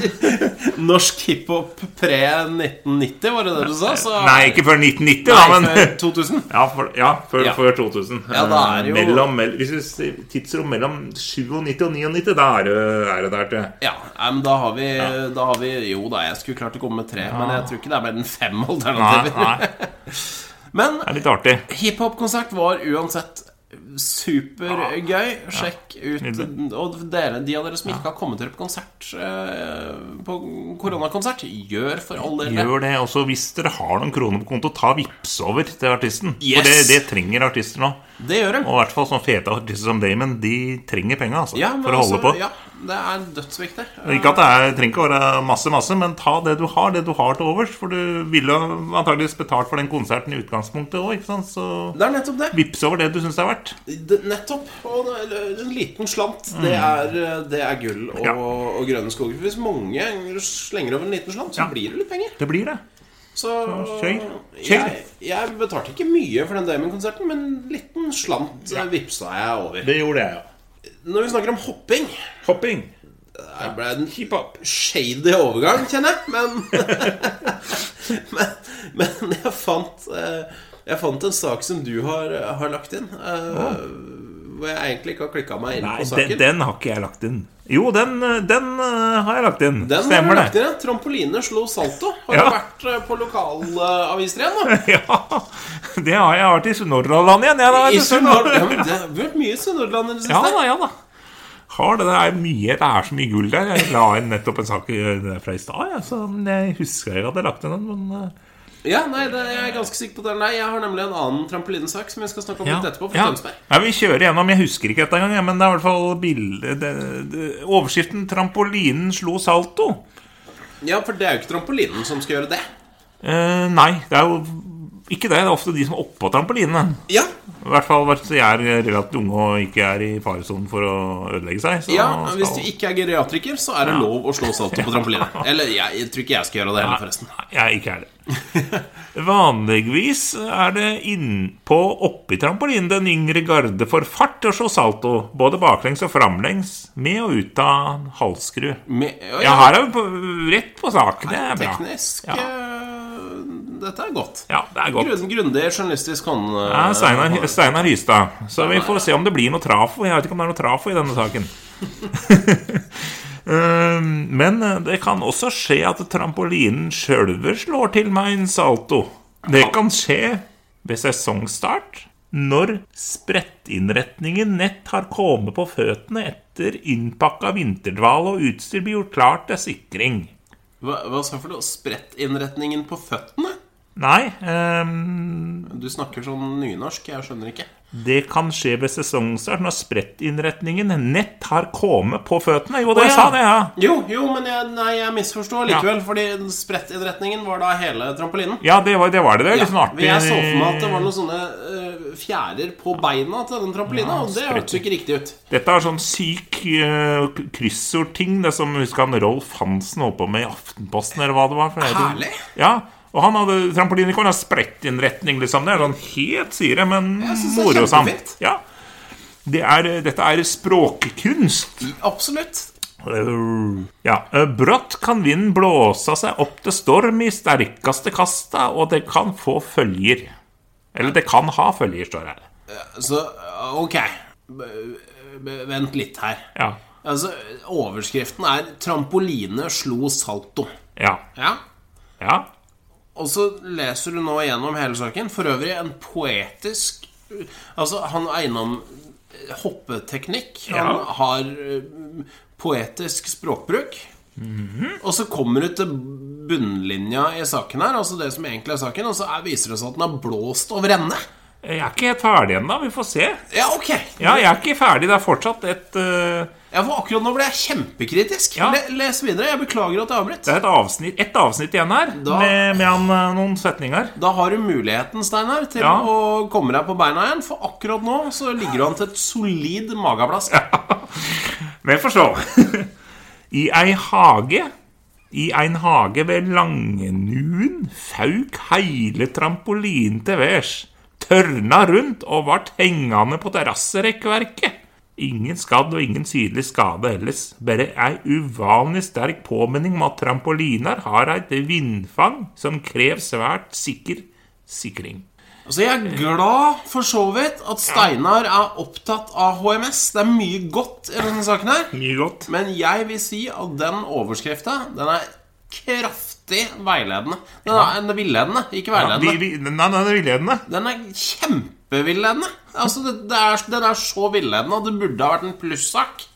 Norsk hiphop pre-1990, var det det du sa? Så, Nei, ikke før 1990, da, Nei, men før 2000. (laughs) ja, for, ja, før, Ja. før 2000. Ja, da er det jo- mellom, mell- hvis du sier tidsrom mellom 97 og 99, da er det, er det der, tror jeg. Ja, nei, men da har, vi, da har vi Jo da, jeg skulle klart å komme med tre, men jeg tror ikke det er mer enn fem Nei, alternativer. nei, det Men er litt artig. Hiphop-konsert var uansett supergøy. Sjekk ut Og dere, de av dere som ikke har kommet dere på konsert eh, På koronakonsert, gjør for all del det. Gjør det. Også hvis dere har noen kroner på konto, ta vips over til artisten. Yes. For det, det trenger artister nå. Det gjør de. Og i hvert fall sånne fete artister som Damon. De trenger penga altså, Ja, men for å holde altså, på. Ja, det er dødsviktig. Og Ikke at det er, trenger ikke å være masse, masse, men ta det du har, det du har til overs. For du ville antakeligvis betalt for den konserten i utgangspunktet òg, ikke sant? Så Det er nettopp det. vips over det du syns det er verdt. Det- Nettopp. Og det- en liten slant, det er, eh, det er gull og, Mm. Ja. og grønne skoger. Hvis mange slenger over en liten slant, så Ja. blir det litt penger. Det blir det. Så kjør. Kjør. Jeg, jeg betalte ikke mye for den Damon-konserten, men en liten slant ja. vipsa jeg over. Det gjorde jeg, ja. Når vi snakker om hopping Hopping. Det ble en shady overgang, kjenner jeg. Men, (laughs) men, men jeg, fant, eh, jeg fant en sak som du har, har lagt inn. eh, Hvor jeg egentlig ikke har klikka meg inn Nei, på den, saken. den har ikke jeg lagt inn. Jo, den, den eh, har jeg lagt inn. Den har du Stemmer lagt det. inn, ja. Trampoline slo salto. Har Ja. du vært eh, på lokalaviser igjen, da? (laughs) Ja, det har jeg vært i Sunnhordland igjen. Jeg, da, I vet du, Sunnhordland. Ja, men det har vært mye i Sunnhordland i det siste. (laughs) Ja da, ja da. Har det, det, er mye, det er så mye gull der. Jeg la inn nettopp en sak eh, fra i stad, ja, så jeg husker jeg hadde lagt inn den. Men eh, Ja, nei, det, jeg er ganske sikker på det. Nei, jeg har nemlig en annen trampolinesak som jeg skal snakke om litt etterpå. fra ja. Tønsberg. Ja, vi kjører gjennom. Jeg husker ikke dette engang, jeg, men det er i hvert fall bilde, det, det, overskriften 'Trampolinen slo salto'. Ja, for det er jo ikke trampolinen som skal gjøre det. Eh, nei, det er jo ikke det. Det er ofte de som er oppå trampolinene. Ja, I hvert fall hvis de er relativt unge og ikke er i faresonen for å ødelegge seg. Så ja Ah, skal- Hvis du ikke er geriatriker, så er det lov å slå salto (laughs) på trampoline. Eller jeg, jeg tror ikke jeg skal gjøre det heller, forresten. Nei, jeg ikke er det. Vanligvis er det innpå oppi trampolinen den yngre garde får fart og slå salto, både baklengs og framlengs, med og ut av halvskru. Med, ja, Ja, her er vi på, rett på sak. Det er bra. teknisk Ja. eh, Dette er godt. Ja, det er godt. Grunn, grundig journalistisk hånd... eh, Ja, Steinar, Steinar Hystad. Så vi får se om det blir noe trafo. Jeg vet ikke om det er noe trafo i denne saken. Um, Men det kan også skje at trampolinen sjølve slår til meg en salto. Det kan skje ved sesongstart, når sprettinnretningen nett har kommet på føttene etter innpakka vinterdvale og utstyr blir gjort klart til sikring. Hva, hva sa du for noe? Sprettinnretningen på føttene? Nei, um, Du snakker sånn nynorsk. Jeg skjønner ikke. Det kan skje ved sesongstart når sprettinnretningen nett har kommet på føttene. Jo, det Å, ja. sa det, ja. Jo, jo, men jeg, nei, jeg misforstår likevel, fordi sprettinnretningen var da hele trampolinen. Ja, det var det. Var det, det. Ja, Litt sånn artig. men jeg så for meg at det var noen sånne eh, fjærer på beina til den trampolina, og det hørtes jo ikke riktig ut. Dette er sånn syk uh, kryssordting, det som husker han Rolf Hansen holdt på med i Aftenposten, eller hva det var. for noe. Herlig. Ja, og han hadde trampoline ikke var noe sprettinnretning, liksom. Det er sånn helt syre, men synes det er morosamt. kjempefint. Ja. Det er, dette er språkkunst. Absolutt. Øh, Ja, øh, brått kan vinden blåsa seg opp til storm i sterkeste kasta, og det kan få følger. Eller det kan ha følger, står det her. Så eh, ok B- b- Vent litt her. Ja, Altså, overskriften er 'Trampoline slo salto'. ja, Ja? ja. Og så leser du nå gjennom hele saken. For øvrig en poetisk Altså, han er innom eh, hoppeteknikk. Han Ja. har eh, poetisk språkbruk. Mhm. Og så kommer du til bunnlinja i saken her, altså det som egentlig er saken, og så er, viser det seg at den er blåst over ende. Jeg er ikke helt ferdig ennå. Vi får se. Ja, ok. Ja, jeg er ikke ferdig. Det er fortsatt et øh, Ja, for akkurat nå ble jeg kjempekritisk. Ja. Le, les videre. Jeg beklager at jeg avbrøt. Det er et avsnitt, et avsnitt igjen her, Da- med, med han, eh, noen setninger. Da har du muligheten, Steinar, til Ja. å komme deg på beina igjen. For akkurat nå så ligger du an til et solid mageplask. Men forstå. (laughs) I ei hage I ein hage ved Langenuen fauk heile trampolinen til værs. Tørna rundt og vart hengende på terrasserekkverket. Ingen skadd og ingen sydlig skade ellers. Bare ei uvanlig sterk påminning om at trampoliner har eit vindfang som krev svært sikker sikring. Så jeg er glad for så vidt at Steinar er opptatt av HMS. Det er mye godt i denne saken her. Mye godt. Men jeg vil si at den overskrifta, den er kraftig veiledende. Den er en villedende, ikke Vi, veiledende. vi, nei, nei, det er villedende. Den er kjempevilledende. Altså, det, det er, den er så villedende at det burde ha vært en plussak.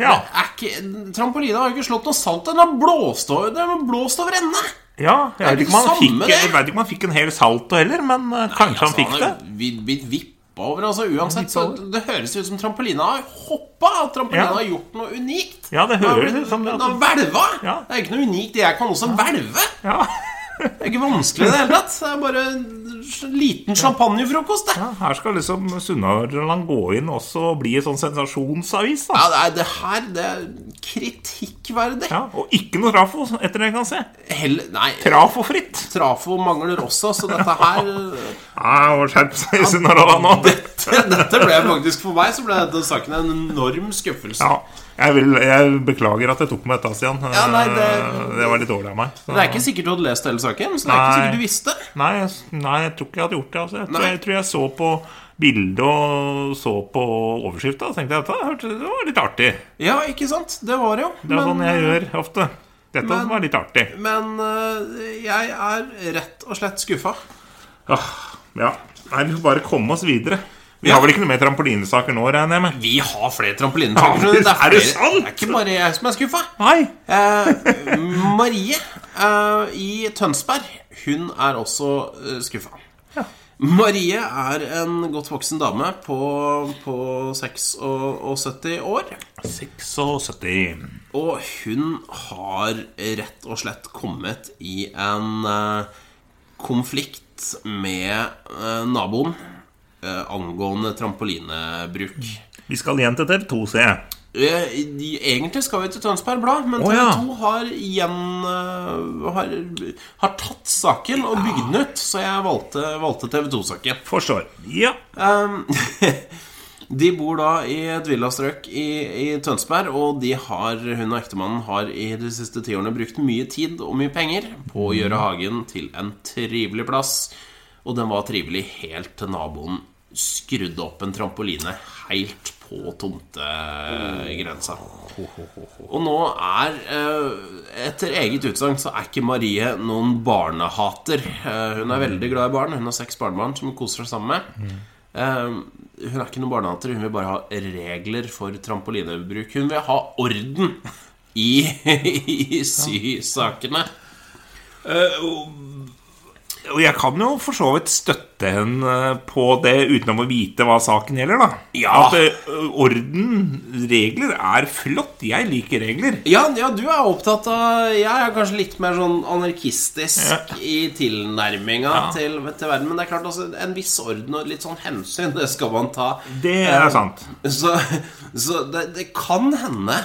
Ja. Er ikke, trampolina har jo ikke slått noe salt. Den har blåst over, den har blåst over ende. Ja, jeg Er det vet ikke om han samme, fikk, det? jeg vet ikke om han fikk en hel salto heller, men eh, kanskje han fikk det. Blitt vippa over, altså. Uansett. Så Vippet det høres ut som trampolina har hoppa. At trampolina Ja. har gjort noe unikt. Ja, det Den har høres blitt- ut som det, Den har altså. hvelva! Ja. Det er ikke noe unikt. Jeg kan også hvelve. Ja. Det er ikke vanskelig i det hele tatt. Det er bare en liten champagnefrokost, det. Ja, her skal liksom Sunnhordland gå inn også og bli en sånn sensasjonsavis. da Ja, det, er, det her det er kritikkverdig. ja, Og ikke noe trafo, etter det jeg kan se. Heller- nei, Trafofritt. trafo mangler også, så dette her (laughs) Ja, og Skjerp seg, Sunnhordland nå. dette, dette ble faktisk for meg Så ble denne saken en enorm skuffelse Ja, jeg, vil, jeg beklager at jeg tok med dette, Stian. Ja, nei, det- Eh, det var litt dårlig av meg. så- Det er ikke sikkert du hadde lest hele saken Så det er ikke Nei. sikkert du visste Nei, jeg s- nei, jeg tror ikke jeg hadde gjort det. Altså. Jeg, tror, Nei. jeg tror jeg så på bildet og så på overskrifta og tenkte at det, hørte- det var litt artig. Ja, ikke sant? Det var det jo Det er Men, eh, sånn jeg gjør ofte. Dette men- var litt artig. men eh, jeg er rett og slett skuffa Ah, ja. Nei, vi får bare komme oss videre. Vi har vel ikke noe mer trampolinesaker nå, regner jeg med? Vi har flere trampolinesaker Ja, skjønner du. er flere- det sant? Det er ikke bare jeg som er skuffa Nei! eh, Marie eh, i Tønsberg Hun er også eh, skuffa Marie er en godt voksen dame på, på 76 år 76. Og hun har rett og slett kommet i en eh, konflikt med eh, naboen eh, angående trampolinebruk. Vi skal igjen til TV2, ser jeg. Eh, de- egentlig skal vi til Tønsberg Blad, men Å, TV ja. 2 har igjen eh, har, har tatt saken og bygd den ut, så jeg valgte, valgte TV 2-saken. Forstår. Ja. Um, de bor da i et villastrøk i, i Tønsberg, og de har, hun og ektemannen har i de siste ti årene brukt mye tid og mye penger på å gjøre hagen til en trivelig plass. Og den var trivelig helt til naboen skrudde opp en trampoline helt på tomtegrensa. Og nå er, eh, etter eget utsagn, så er ikke Marie noen barnehater. Eh, Hun er veldig glad i barn. Hun har seks barnebarn som hun koser seg sammen med. Eh, Hun er ikke noen barnehater. Hun vil bare ha regler for trampolinebruk. Hun vil ha orden i, i sysakene. Eh, Og jeg kan jo for så vidt støtte henne eh, på det uten å vite hva saken gjelder, da. Ja. At eh, orden, regler, er flott. Jeg liker regler. Ja, ja, du er opptatt av Jeg er kanskje litt mer sånn anarkistisk i tilnærminga til, til verden. Men det er klart altså, en viss orden og litt sånn hensyn, det skal man ta. Ehm, Det er sant. Så, så det, det kan hende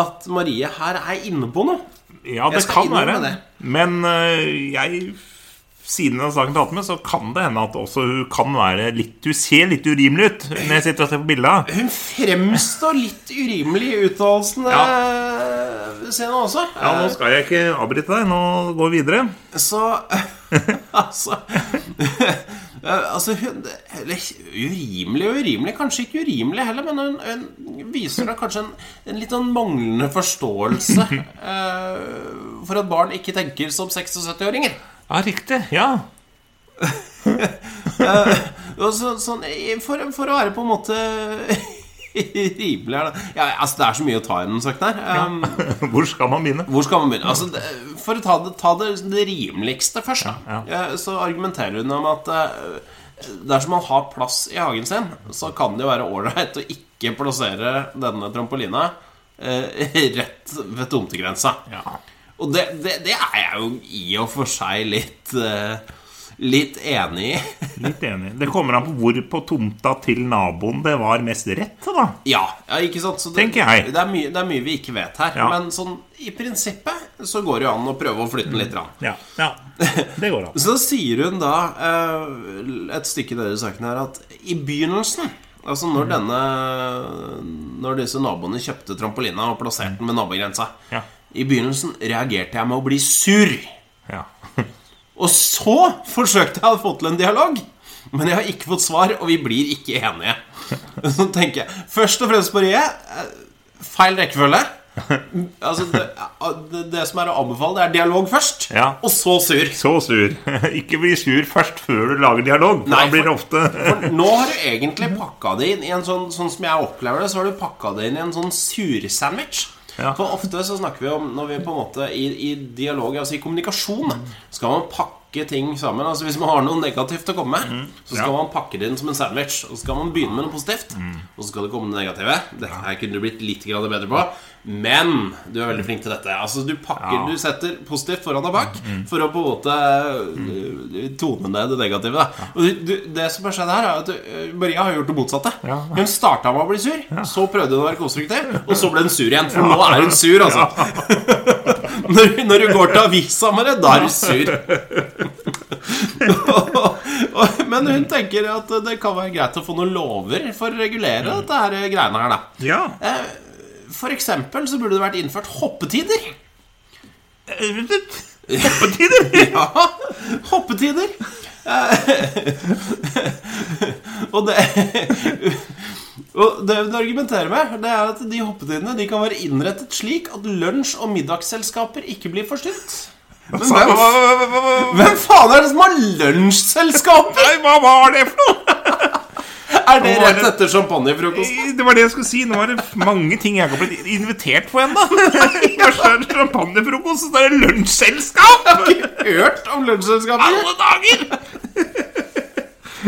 at Marie her er inne på noe. Ja, det skal kan innrømme være. det. Men eh, jeg siden av saken tatt med, så kan det hende at også hun kan være litt Hun ser litt urimelig ut når jeg sitter og ser på bildet. Hun fremstår litt urimelig i uttalelsene eh, sine også. Eh, Ja, nå skal jeg ikke avbryte deg. Nå går vi videre. Så (laughs) Altså (laughs) eh, Altså hun Eller urimelig og urimelig Kanskje ikke urimelig heller Men hun, hun viser da kanskje en, en litt sånn manglende (laughs) forståelse eh, For at barn ikke tenker som 76-åringer Ja, riktig. Ja. Og så, sånn, eh, for, for å være på en måte (laughs) Rimelig her da ja, altså, Det er så mye å ta i den saken her um, (laughs) Hvor skal man begynne? Hvor skal man begynne? Altså, det- for å ta det, ta det, det rimeligste først, da, Ja, eh, så argumenterer hun om at eh, dersom man har plass i hagen sin, så kan det jo være ålreit å ikke plassere denne trampolina eh, (laughs) rett ved tomtegrensa. Ja. Og det, det, det er jeg jo i og for seg litt eh, Litt enig i. (laughs) Litt enig. Det kommer an på hvor på tomta til naboen det var mest rett, da. Ja, ja ikke sant? Så det, Tenker jeg. Det er, mye, det er mye vi ikke vet her. Ja. Men sånn, i prinsippet så går det jo an å prøve å flytte den litt. Rann. Ja, ja. Det (laughs) går an. Så sier hun da eh, et stykke i denne saken her at i begynnelsen Altså Mm. når denne Når disse naboene kjøpte trampolina og plasserte den ved nabogrensa Ja. I begynnelsen reagerte jeg med å bli sur. Ja. Og så forsøkte jeg å få til en dialog, men jeg har ikke fått svar, og vi blir ikke enige. (laughs) Så tenker jeg først og fremst på Rie. eh, Feil (laughs) rekkefølge. Altså, det, det, det som er å anbefale, det er dialog først, Ja. og så sur. Så sur. (laughs) Ikke bli sur først før du lager dialog. for Nei, da blir det for- ofte For nå har du egentlig pakka det inn i en sånn Sånn som jeg opplever det, så har du pakka det inn i en sånn sursandwich. Ja. For ofte så snakker vi om Når vi på en måte i, i dialog, altså i kommunikasjon, skal man pakke ting sammen. Altså Hvis man har noe negativt å komme med, så skal man pakke det inn som en sandwich. Og så skal man begynne med noe positivt, Mm. og så skal det komme det negative. Det her kunne du blitt litt grann bedre på. Men du er veldig flink til dette. Altså Du pakker Ja. Mm. Du setter positivt foran og bak for å på en måte øh, tone ned det negative. Da. Og du, det som har skjedd her, er at øh, Maria har gjort det motsatte. Ja. Hun starta med å bli sur, så prøvde hun å være konstruktiv, og så ble hun sur igjen. For nå er hun sur, altså. (laughs) når, når du går til avisa med det, da er du sur. Og- og- Men hun tenker at det kan være greit å få noen lover for å regulere dette her greiene her, da. Ja. Eh, For eksempel så burde det vært innført hoppetider. Hoppetider! Ja, hoppetider. Eh, (laughs) og det Og det hun argumenterer med, det er at de hoppetidene de kan være innrettet slik at lunsj- og middagsselskaper ikke blir forstyrret. Men hvem, hvem faen er det som har lunsjselskaper? Nei, hva var det for noe? Er det rett etter champagnefrokosten? Det var det jeg skulle si. Nå er det mange ting jeg ikke har blitt invitert på (laughs) ennå. Først er det champagnefrokost, så er det lunsjselskap! Hørt om lunsjselskaper? Alle dager!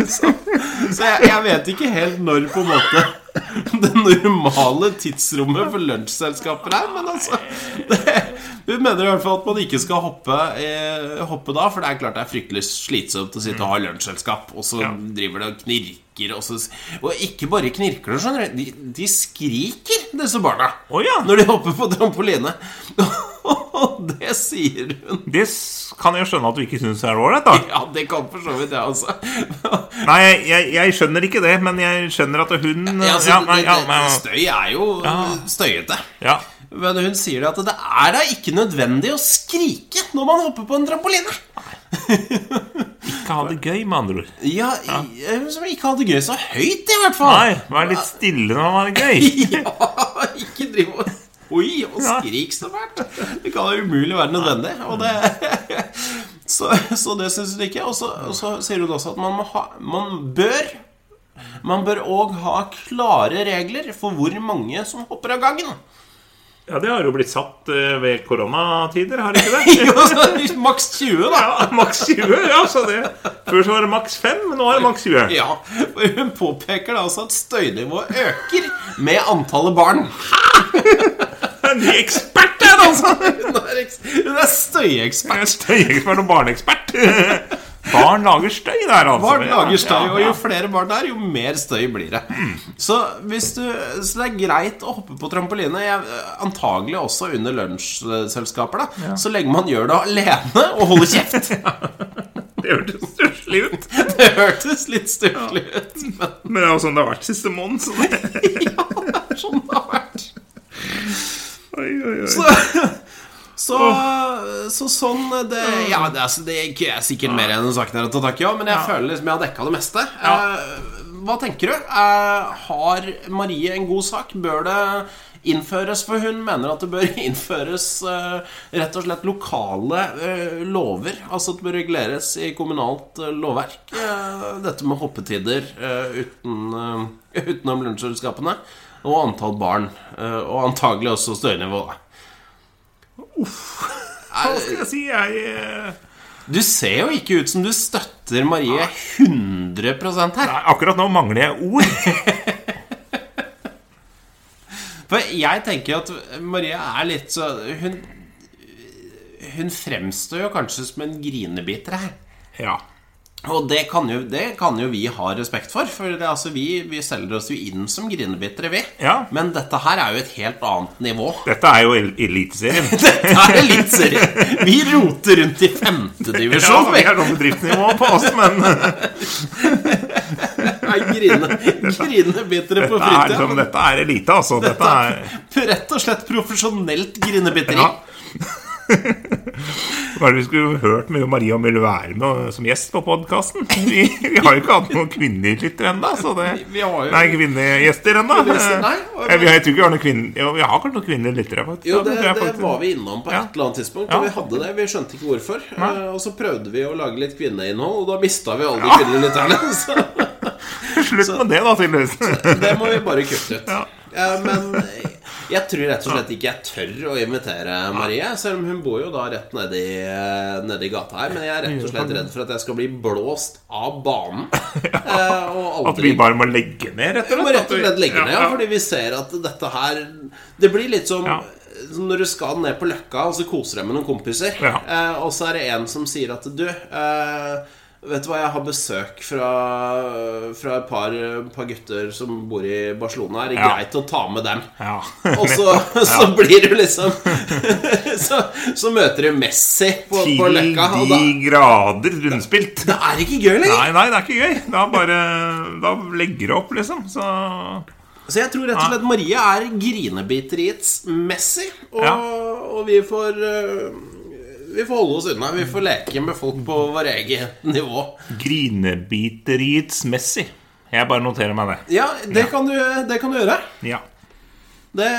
Så jeg, jeg vet ikke helt når på en måte (laughs) det normale tidsrommet for lunsjselskaper er, men altså det, Hun mener i hvert fall at man ikke skal hoppe, eh, hoppe da, for det er klart det er fryktelig slitsomt å sitte og ha lunsjselskap, og så driver det og knirker, og så Og ikke bare knirker det, skjønner du, de, de skriker, disse barna, Å ja. når de hopper på trampoline. (laughs) Og det sier hun. Det s- kan jeg skjønne at du ikke syns er ålreit, da. Ja, det kan for så vidt jeg, altså. Nei, jeg, jeg- jeg skjønner ikke det, men jeg skjønner at hun Ja, altså, ja, nei, ja, det- nei, det- ja. Støy er jo Ja. støyete. Ja. Men hun sier det at det er da ikke nødvendig å skrike når man hopper på en trampoline. Ikke ha det gøy, med andre ord. Ja, i- Som ikke hadde gøy så høyt, i hvert fall. Nei, vær litt stille når man har det gøy. (laughs) Ja, ikke driv og Oi, og skrik så fælt! Det kan jo umulig være nødvendig. Og det, (laughs) så, så det syns hun ikke. Og så, og så sier hun også at man, må ha, man bør Man bør òg ha klare regler for hvor mange som hopper av gangen. (laughs) Ja, det har jo blitt satt eh, ved koronatider, har det ikke (laughs) (laughs) det? Jo, så Maks 20, da. Ja, maks 20, ja, så det Før så var det maks 5, men nå er det maks 20 Ja, for Hun påpeker da altså at støynivået øker med antallet barn. (laughs) Jeg er en ny ekspert, jeg, altså Hun er, eks- hun er støyekspert. Jeg er støyekspert og barneekspert Barn lager støy der, altså Barn lager støy, Ja, og ja. jo flere barn det er, jo mer støy blir det. Så, hvis du, så det er greit å hoppe på trampoline, jeg- antagelig også under lunsjselskaper, da, så lenge man gjør det alene og holder kjeft. Det hørtes stusslig ut. (laughs) Det hørtes litt stusslig ut, men Men det er jo sånn det har vært siste måned. Så det, det er sånn det har vært. oi, oi, oi. Så, så sånn det, Ja, det er, altså, det er ikke- er sikkert mer enn saken her å ta tak i, ja, men jeg føler liksom jeg har dekka det meste. Eh, hva tenker du? Eh, har Marie en god sak? Bør det innføres? For hun mener at det bør (laughs) innføres eh, rett og slett lokale eh, lover. Altså at det bør reguleres i kommunalt eh, lovverk. Eh, dette med hoppetider eh, uten, eh, (laughs) utenom lunsjselskapene. Og antall barn. eh, og antagelig også støynivå, da. Hva skal jeg si? Jeg eh, Du ser jo ikke ut som du støtter Marie 100 her. Nei, akkurat nå mangler jeg ord. For jeg tenker at Marie er litt så Hun, hun fremstår jo kanskje som en grinebiter her. Ja. Og det kan jo, det kan jo vi ha respekt for, for det, er altså, vi, vi selger oss jo inn som grinebitere, vi. Ja. Men dette her er jo et helt annet nivå. (laughs) Dette er jo el- Eliteserien. Dette er eliteserien! Vi roter rundt i Ja, femtedivisjon, vi har sånn bedriftsnivå på oss, men eh, vi! Er (laughs) grine, grinebitere på det er, fritida. liksom, dette er elite, altså. Dette er Rett og slett profesjonelt grinebiteri. Ja. Hva er det vi skulle hørt med Maria om ville være med som gjest på podkasten? (laughs) Vi, vi har jo ikke hatt noen kvinnelige lyttere ennå. så det- Vi- vi har jo- Nei, kvinnegjester ennå. Kvinnegjester, nei. Eh, Vi har, jeg tror ikke vi har noen kvinner Jo, vi har kanskje noen kvinnelige lyttere. faktisk. Jo, Ja, det, tror jeg det faktisk. var vi innom på et Ja. eller annet tidspunkt. Ja. Og vi hadde det, vi skjønte ikke hvorfor. Nei. Eh, og så prøvde vi å lage litt kvinneinnhold, og da mista vi alle de kvinnelige lytterne. (laughs) Så (laughs) Slutt med det, da, tydeligvis. (laughs) det må vi bare kutte ut. Ja. Eh, men jeg tror rett og slett ikke jeg tør å invitere Marie. Selv om hun bor jo da rett nedi, nedi gata her. Men jeg er rett og slett redd for at jeg skal bli blåst av (laughs) banen. eh, og At vi bare må legge ned, rett og Vi slett. må rett At og vi- slett legge ned, ja, ja. fordi vi ser at dette her Det blir litt som Ja. som når du skal ned på Løkka, og så koser deg med noen kompiser, Ja. eh, og så er det en som sier at du eh, Vet du hva, jeg har besøk fra, fra et par, par gutter som bor i Barcelona. Er det Ja. greit å ta med dem? Ja. Og (laughs) så, så blir du liksom (laughs) så, så møter du Messi på, Til på Løkka, og da de grader rundspilt. Det er ikke gøy lenger! Nei, nei, det er ikke gøy. Da bare Da legger det opp, liksom. Så Så jeg tror rett og slett Marie er grinebiteriets Messi. Og, Ja. og vi får øh, Vi får holde oss unna. Vi får leke med folk på vår eget nivå. Grinebiterietsmessig. Jeg bare noterer meg det. Ja, det, Kan, du, det kan du gjøre. Ja. Det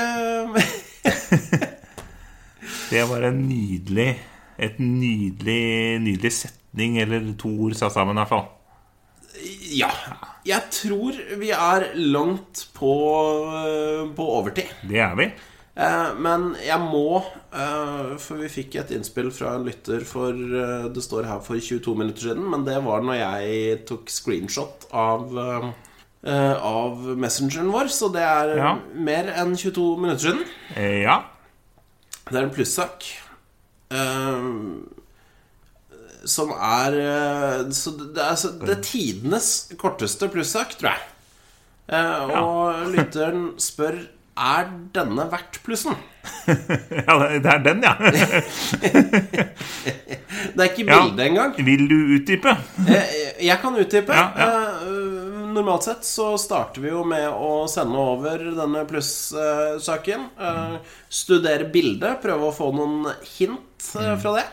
(laughs) Det var en nydelig Et nydelig, nydelig setning eller to ord satt sammen, i hvert fall. Ja. Jeg tror vi er langt på, øh, på overtid. Det er vi. Eh, Men jeg må, eh, for vi fikk et innspill fra en lytter for eh, Det står her for 22 minutter siden, men det var når jeg tok screenshot av eh, eh, Av messengeren vår, så det er Ja. mer enn 22 minutter siden. Eh, ja. (laughs) Det er en plussak. eh, Som er eh, Så det det er, så- det er tidenes korteste plussak, tror jeg. Eh, Og lytteren spør Er denne verdt plussen. ja. Det er den, ja. (laughs) Det er ikke Ja. bilde engang. Vil du utdype? Jeg, jeg kan utdype. Ja, ja. Eh, normalt sett så starter vi jo med å sende over denne pluss-saken. Eh, studere bildet, prøve å få noen hint Mm. eh, fra det.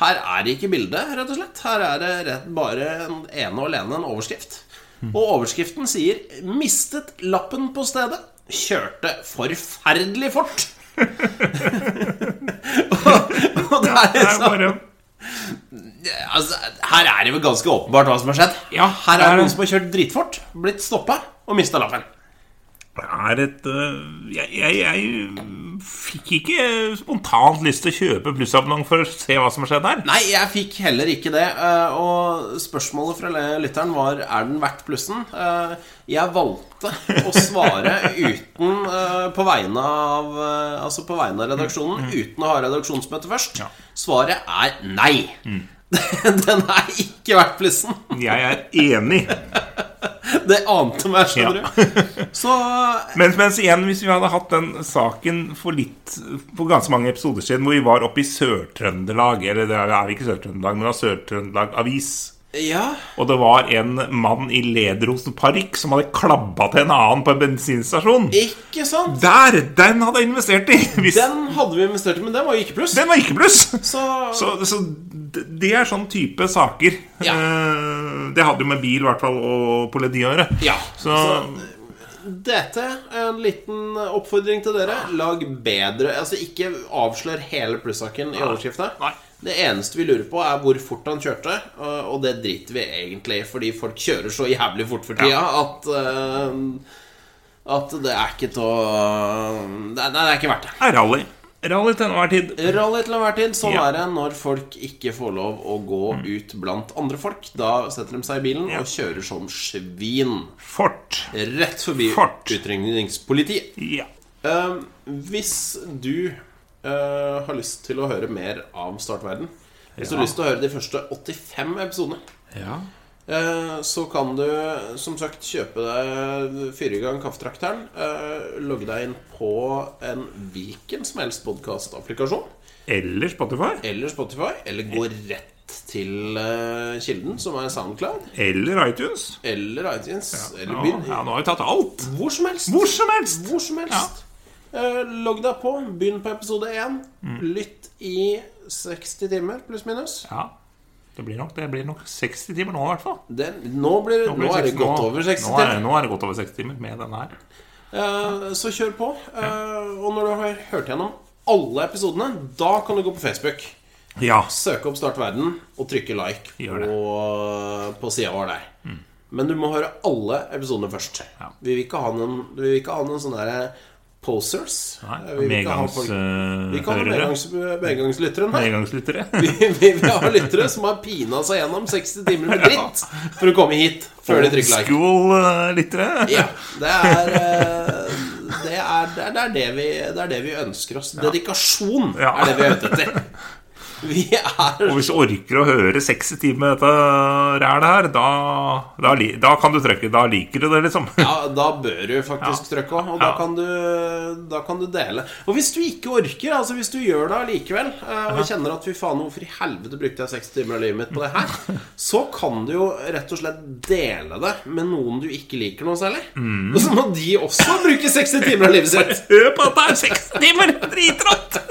Her er det ikke bilde, rett og slett. Her er det rett, bare en ene og alene en overskrift. Mm. Og overskriften sier 'Mistet lappen på stedet'. Kjørte forferdelig (laughs) fort. (laughs) og, og det er Det er (laughs) liksom bare Altså, her er det vel ganske åpenbart hva som har skjedd. Ja, her er det er det det. noen som har kjørt dritfort, blitt stoppa og mista lappen. Det er et eh, jeg, jeg, jeg fikk ikke spontant lyst til å kjøpe plussabonnement for å se hva som har skjedd her. Nei, jeg fikk heller ikke det. eh, Og spørsmålet fra le- lytteren var er den verdt plussen. Eh, Jeg valgte å svare (laughs) uten eh, på vegne av eh, Altså på vegne av redaksjonen, uten å ha redaksjonsmøte først. Svaret er nei. (laughs) Den er ikke verdt plussen. Jeg er enig. Det ante meg, skjønner du. Så Mens, mens igjen, hvis vi hadde hatt den saken for litt For ganske mange episoder siden hvor vi var oppe i Sør-Trøndelag Eller det er er vi ikke Sør-Trøndelag, men det er Sør-Trøndelag Avis. ja. Og det var en mann i Ledrosen parykk som hadde klabba til en annen på en bensinstasjon. Ikke sant? Der! Den hadde jeg investert i! Hvis, den, Den hadde vi investert i, men den var jo ikke pluss. var ikke pluss! Så, Så, så d- det er sånn type saker. Ja. Eh, Det hadde jo med bil i hvert fall og politi å gjøre. ja. Så, Dette er en liten oppfordring til dere. Lag bedre Altså, ikke avslør hele plussaken i overskrifta. Nei. Det eneste vi lurer på, er hvor fort han kjørte, og og det driter vi egentlig i, fordi folk kjører så jævlig fort for tida at eh, At det er ikke til å Nei, nei, det er ikke verdt det. er rally. Rally til enhver tid. Rally til enhver tid. Sånn Ja. Mm. er det når folk ikke får lov å gå ut blant andre folk. Da setter de seg i bilen og kjører som svin Fort. rett forbi Fart. utrykningspolitiet. Ja. Ehm, hvis du eh, har lyst til å høre mer av Startverden Hvis du har lyst til å høre de første 85 episodene eh, så kan du som sagt kjøpe deg fire gang kaffetrakteren. eh, Logge deg inn på en hvilken som helst podkastapplikasjon. Eller Spotify. Eller Spotify. Eller gå rett til eh, kilden, som er SoundCloud. Eller iTunes. Eller iTunes. Eller Ja, begynn ja, nå har vi tatt alt. hvor som helst. Hvor som helst. Hvor som helst. Eh, logg deg på. Begynn på episode 1. Mm. Lytt i 60 timer, pluss minus. Ja. Det blir nok, det blir nok 60 timer nå, i hvert fall. Det, nå, blir, nå, blir er det 60 godt nå. over 60 Nå er, timer. nå er det godt over 60 timer med den her. Eh, så kjør på. Eh, og når du har hørt gjennom alle episodene, da kan du gå på Facebook. Ja. Søke opp Start verden og trykke like Gjør det. på, på sida vår der. Men du må høre alle episodene først. Ja. Vi vil ikke ha noen, vi vil ikke ha noen sånne der posers. Eh, vi vil ikke ha folk- eh, Vi kan ha Medgangshørere. medgangs, medgangslytteren her. Medgangslyttere. Vi, (laughs) vi vil ha lyttere som har pina seg gjennom 60 timer med dritt for å komme hit før de trykker like. School-lyttere. Ja, det er, eh, det, er, det, er, det, er det, vi, det er det vi ønsker oss. Dedikasjon Ja. er det vi er ute etter. Vi er Og hvis du orker å høre 60 timer med dette rælet her, da, da, li- da kan du trykke. Da liker du det, liksom. ja, Da bør du faktisk trykke òg, og da Ja. kan, du, da kan du dele. Og hvis du ikke orker, altså hvis du gjør det allikevel, eh, og kjenner at fy faen, hvorfor i helvete brukte jeg 60 timer av livet mitt på (laughs) det her, så kan du jo rett og slett dele det med noen du ikke liker noe særlig. Mm. Og så må de også bruke 60 timer av livet (laughs) sitt. (laughs) Hør på at det er 60 timer! Dritrått!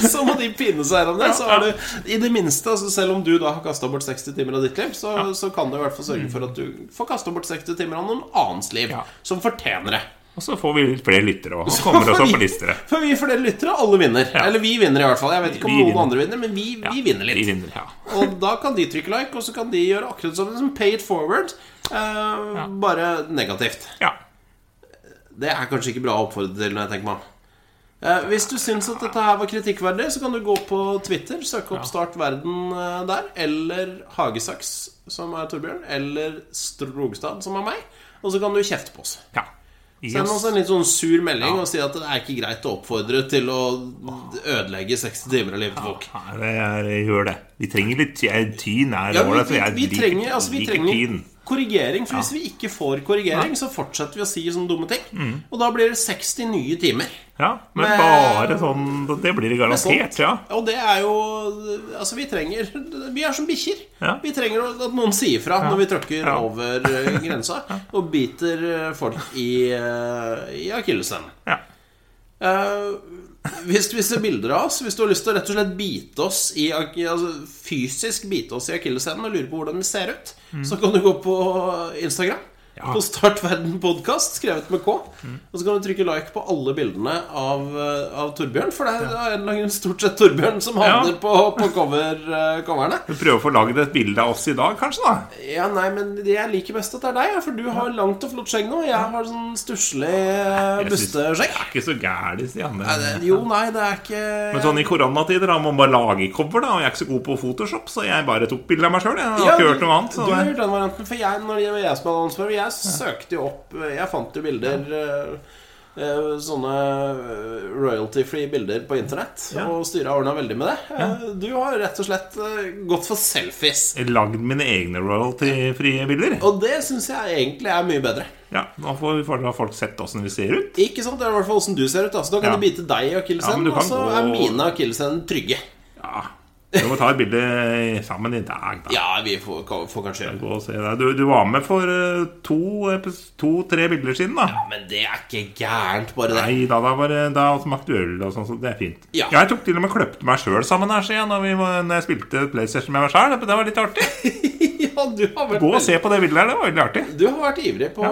Så må de pinne seg gjennom det. Så er du, I det minste, altså selv om du da har kasta bort 60 timer av ditt liv, så, så kan du i hvert fall sørge for at du får kasta bort 60 timer av noen annens liv, Mm. Ja. som fortjener det. Og så får vi litt flere lyttere og kommer oss opp på listere. For vi får dere lyttere, alle vinner. Eller vi vinner, i hvert fall. Jeg vet ikke om Vi noen vinner. andre vinner, men vi, vi vinner litt. Vi vinner, ja. Og da kan de trykke like, og så kan de gjøre akkurat som som pay it forward, eh, bare negativt. ja. Det er kanskje ikke bra å oppfordre til, når jeg tenker meg om. Eh, hvis du syns at dette her var kritikkverdig, så kan du gå på Twitter, søke opp Start verden eh, der, eller Hagesaks, som er Torbjørn, eller Strogstad, som er meg, og så kan du kjefte på oss. ja. Gi Send oss- oss en litt sånn sur melding og si at det er ikke greit å oppfordre til å ødelegge 60 timer av livet til folk. Nei, det er, gjør det. Vi trenger litt ty- eh, tyn. Er Ja, ålreit, vi, og jeg vi, vi liker- trenger, altså, vi liker trenger tyn. korrigering, for hvis vi ikke får korrigering, så fortsetter vi å si sånne dumme ting. Mm. Og da blir det 60 nye timer. Ja, men Men- bare sånn Det blir det Sånt. garantert, ja. Og det er jo Altså, vi trenger Vi er som bikkjer. Ja. Vi trenger at noen sier fra når vi tråkker Ja. over (laughs) eh, grensa og biter eh, folk i, eh, i akilleshælen. ja. Eh, hvis du vil se bilder av oss, hvis du har lyst til å rett og slett bite oss i, ak- altså, fysisk bite oss i akilleshælen og lure på hvordan vi ser ut, Mm. så kan du gå på Instagram. På Start verden podkast, skrevet med K. Mm. Og så kan du trykke like på alle bildene av, eh, av Torbjørn. For det er av en eller annen grunn stort sett Torbjørn som havner på, på cover, eh, coverne. Vi prøver å få lagd et bilde av oss i dag, kanskje, da. Ja, nei, men det jeg liker best at det er deg, ja, for du har langt og flott skjegg nå. Jeg har sånn stusslig eh, Jeg synes- busteskjegg. Det er ikke så gærent, Stian. Nei, det- Jo, nei, det er ikke Men sånn i koronatider da må man bare lage cover, da. Og jeg er ikke så god på Photoshop, så jeg bare tok bilde av meg sjøl. Jeg har Ja, ikke du- hørt noe annet. Så Du har det... hørt den varianten, for jeg, når det var jeg som hadde ansvaret, jeg søkte jo opp Jeg fant jo bilder eh, eh, sånne eh, royalty-free bilder på internett. Og styret har ordna veldig med det. Eh, Du har rett og slett eh, gått for selfies. Jeg har Lagd mine egne royalty-frie bilder. Og det syns jeg egentlig er mye bedre. Ja, Nå får får da folk sett åssen vi ser ut. Ikke sant? Det er i hvert fall åssen du ser ut. Da. Så da kan Ja. du bite deg i akillesen, men du og kan så gå- er mine akillesen trygge. Ja, Vi må ta et bilde sammen i dag, da. Ja, vi får, kan- får kanskje gjøre det. Gå og se deg. Du, du var med for eh, to, epis- to-tre bilder siden, da. Men det er ikke gærent, bare det. Nei, da, da var det da smakte øl og sånn, så det er fint. Ja. Jeg tok til og med kløpte meg sjøl sammen her, sier jeg, når, vi, var- når jeg spilte PlayStation med meg sjøl. Det var litt artig. (laughs) Ja, du har vært Gå og veldig- se på det bildet her, det var veldig artig. Du har vært ivrig på,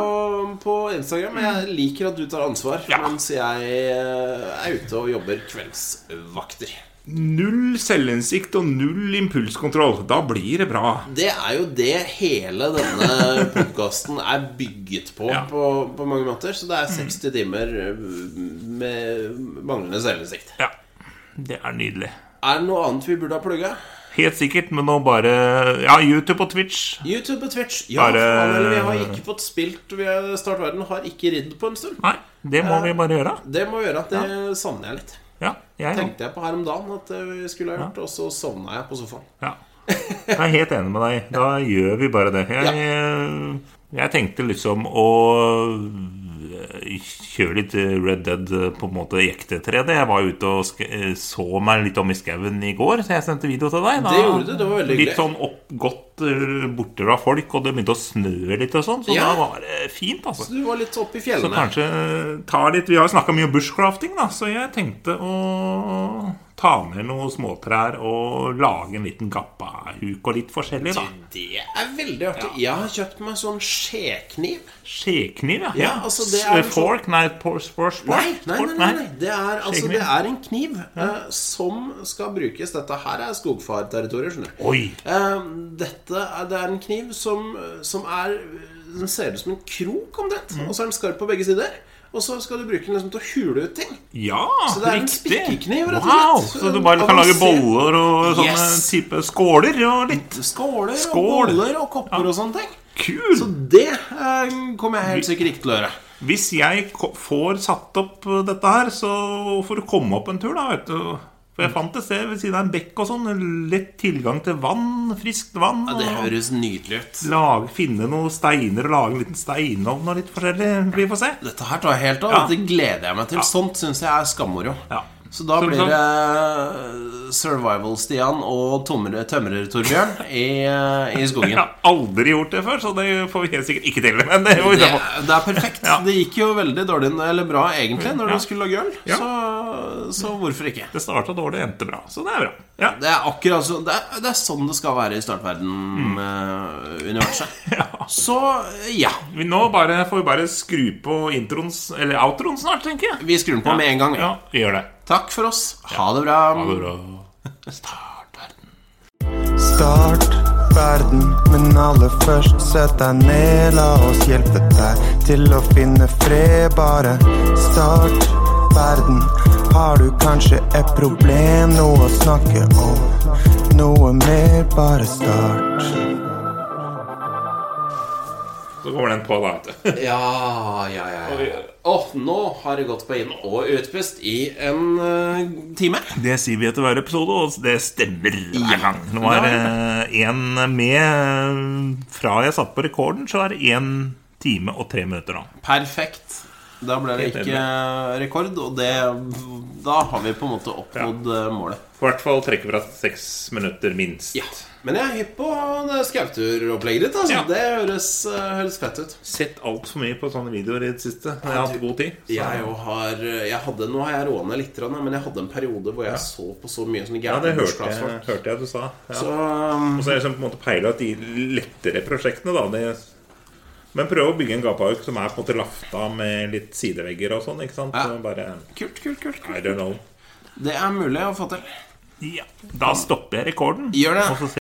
på Instagram. men Jeg liker at du tar ansvar Mm. Ja. mens jeg eh, er ute og jobber kveldsvakter. Null selvinnsikt og null impulskontroll. Da blir det bra. Det er jo det hele denne (laughs) podkasten er bygget på, Ja. Mm. på på mange måter. Så det er 60 timer eh, med manglende selvinnsikt. Ja, det er nydelig. Er det noe annet vi burde ha plugga? Helt sikkert, men nå bare Ja, YouTube og Twitch. YouTube og Twitch. Ja, Bare- faen, eller vi har ikke fått spilt vi har- Start verden. Har ikke ridd på en stund. Nei, det må vi bare gjøre. Det må gjøre at det savner jeg litt. Ja, jeg òg. Tenkte jeg på her om dagen at eh, vi skulle ha gjort, og så sovna jeg på sofaen. Ja. Jeg er helt enig med (laughs) deg. Da gjør vi bare det. Jeg, jeg tenkte liksom å kjøre litt Red Dead eh, på en måte i ekte 3D. Jeg var ute og sk eh, så meg litt om i skauen i går, så jeg sendte video til deg. Da, Det gjorde du, det var veldig hyggelig. Litt sånn opp, godt eh, borte fra folk, og det begynte å snø litt og sånn, så Ja. da var det fint, altså. Du var litt oppe i Så fjellene. kanskje ta litt Vi har jo snakka mye om bushcrafting, da, så jeg tenkte å ta med noen småtrær og lage en liten gappahuk og litt forskjellig, da. Det er veldig artig. Jeg har kjøpt meg sånn skjekniv. Skjekniv, ja. Ja, altså, det er S- Fork? Nei, por- por- spork? Nei, nei, nei, Fork? nei, nei. Det, er, altså, Skjekniv. det er en kniv eh, som skal brukes. Dette her er skogfarterritoriet, skjønner du. Oi! Eh, dette er, det er en kniv som, som er Den ser ut som en krok, omtrent. Mm. Og så er den skarp på begge sider. Og så skal du bruke den liksom til å hule ut ting. Ja, Så det er en riktig. spikkekniv, rett og Wow, slett. så du bare kan lage Avansert. boller og sånne Yes. Mm. type skåler og litt Skåler og Skål. boller og kopper og sånne ting. Kul! Så det eh, kommer jeg helt sikkert ikke til å gjøre. Hvis jeg ko- får satt opp eh, dette her, så får du komme opp en tur, da. Vet du. For jeg fant et sted ved siden av en bekk og sånn. Lett tilgang til vann, friskt vann. Ja, det og høres nydelig ut. lage, finne noen steiner og lage en liten steinovn og litt forskjellig. Vi får se. Dette her tar jeg helt av. Ja. Dette gleder jeg meg til. Sånt syns jeg er skammoro. Ja. Sånn Så da Som blir sagt. det Survival-Stian og tomre- tømrer-Torbjørn i, i (laughs) skogen. Jeg har aldri gjort det før, så det får vi helt sikkert ikke til. Men det, får vi Det, ta på. det er perfekt. Ja. Mm. Det gikk jo veldig dårlig Eller bra, egentlig, når Ja. du skulle lage øl. Ja. Så, så hvorfor ikke? det starta dårlig, endte bra. Så det er bra. Ja. Det er akkurat så, det, er, det er sånn det skal være i Mm. startverden-universet. Så ja. Vi nå bare, får vi bare skru på introen s- Eller outroen snart, tenker jeg. Vi skrur den på med en gang. vi. Ja, vi gjør det. Takk for oss. Ha det bra. Ha det bra. Start verden, men aller først sett deg ned. La oss hjelpe deg til å finne fred, bare start verden. Har du kanskje et problem, noe å snakke om? Noe mer, bare start. Så kommer den på, da. vet du. Ja, ja, ja. Åh, nå har det gått på inn- og utpust i en eh, time. (laughs) Det sier vi etter hver episode, og det stemmer hver gang. Nå er det én med Fra jeg satt på rekorden, så er det én time og tre minutter, da. Perfekt. Da ble det ikke rekord, og det Da har vi på en måte oppnådd eh, målet. I hvert fall trekke fra seks minutter, minst. Ja. Men jeg er hypp på det skauturopplegget ditt. Altså. Ja. Det høres, eh, høres fett ut. Sett altfor mye på sånne videoer i det siste. Jeg har hatt god tid. så- Jeg jo har eh, jeg hadde, Nå har jeg roa ned litt, grann, men jeg hadde en periode hvor jeg så på så mye sånne Ja, det gærne hørte jeg, bursdagsfolk. hørte jeg du sa. Ja. Så um, Og så er det liksom på en måte peila at de lettere prosjektene, da det, Men prøv å bygge en gapauk som er på en måte lafta med litt sidevegger og sånn, ikke sant? Ja. Så Bare kult, kult, kult. I don't know. Det er mulig å få til. Ja, da stopper jeg rekorden. Gjør det. Og så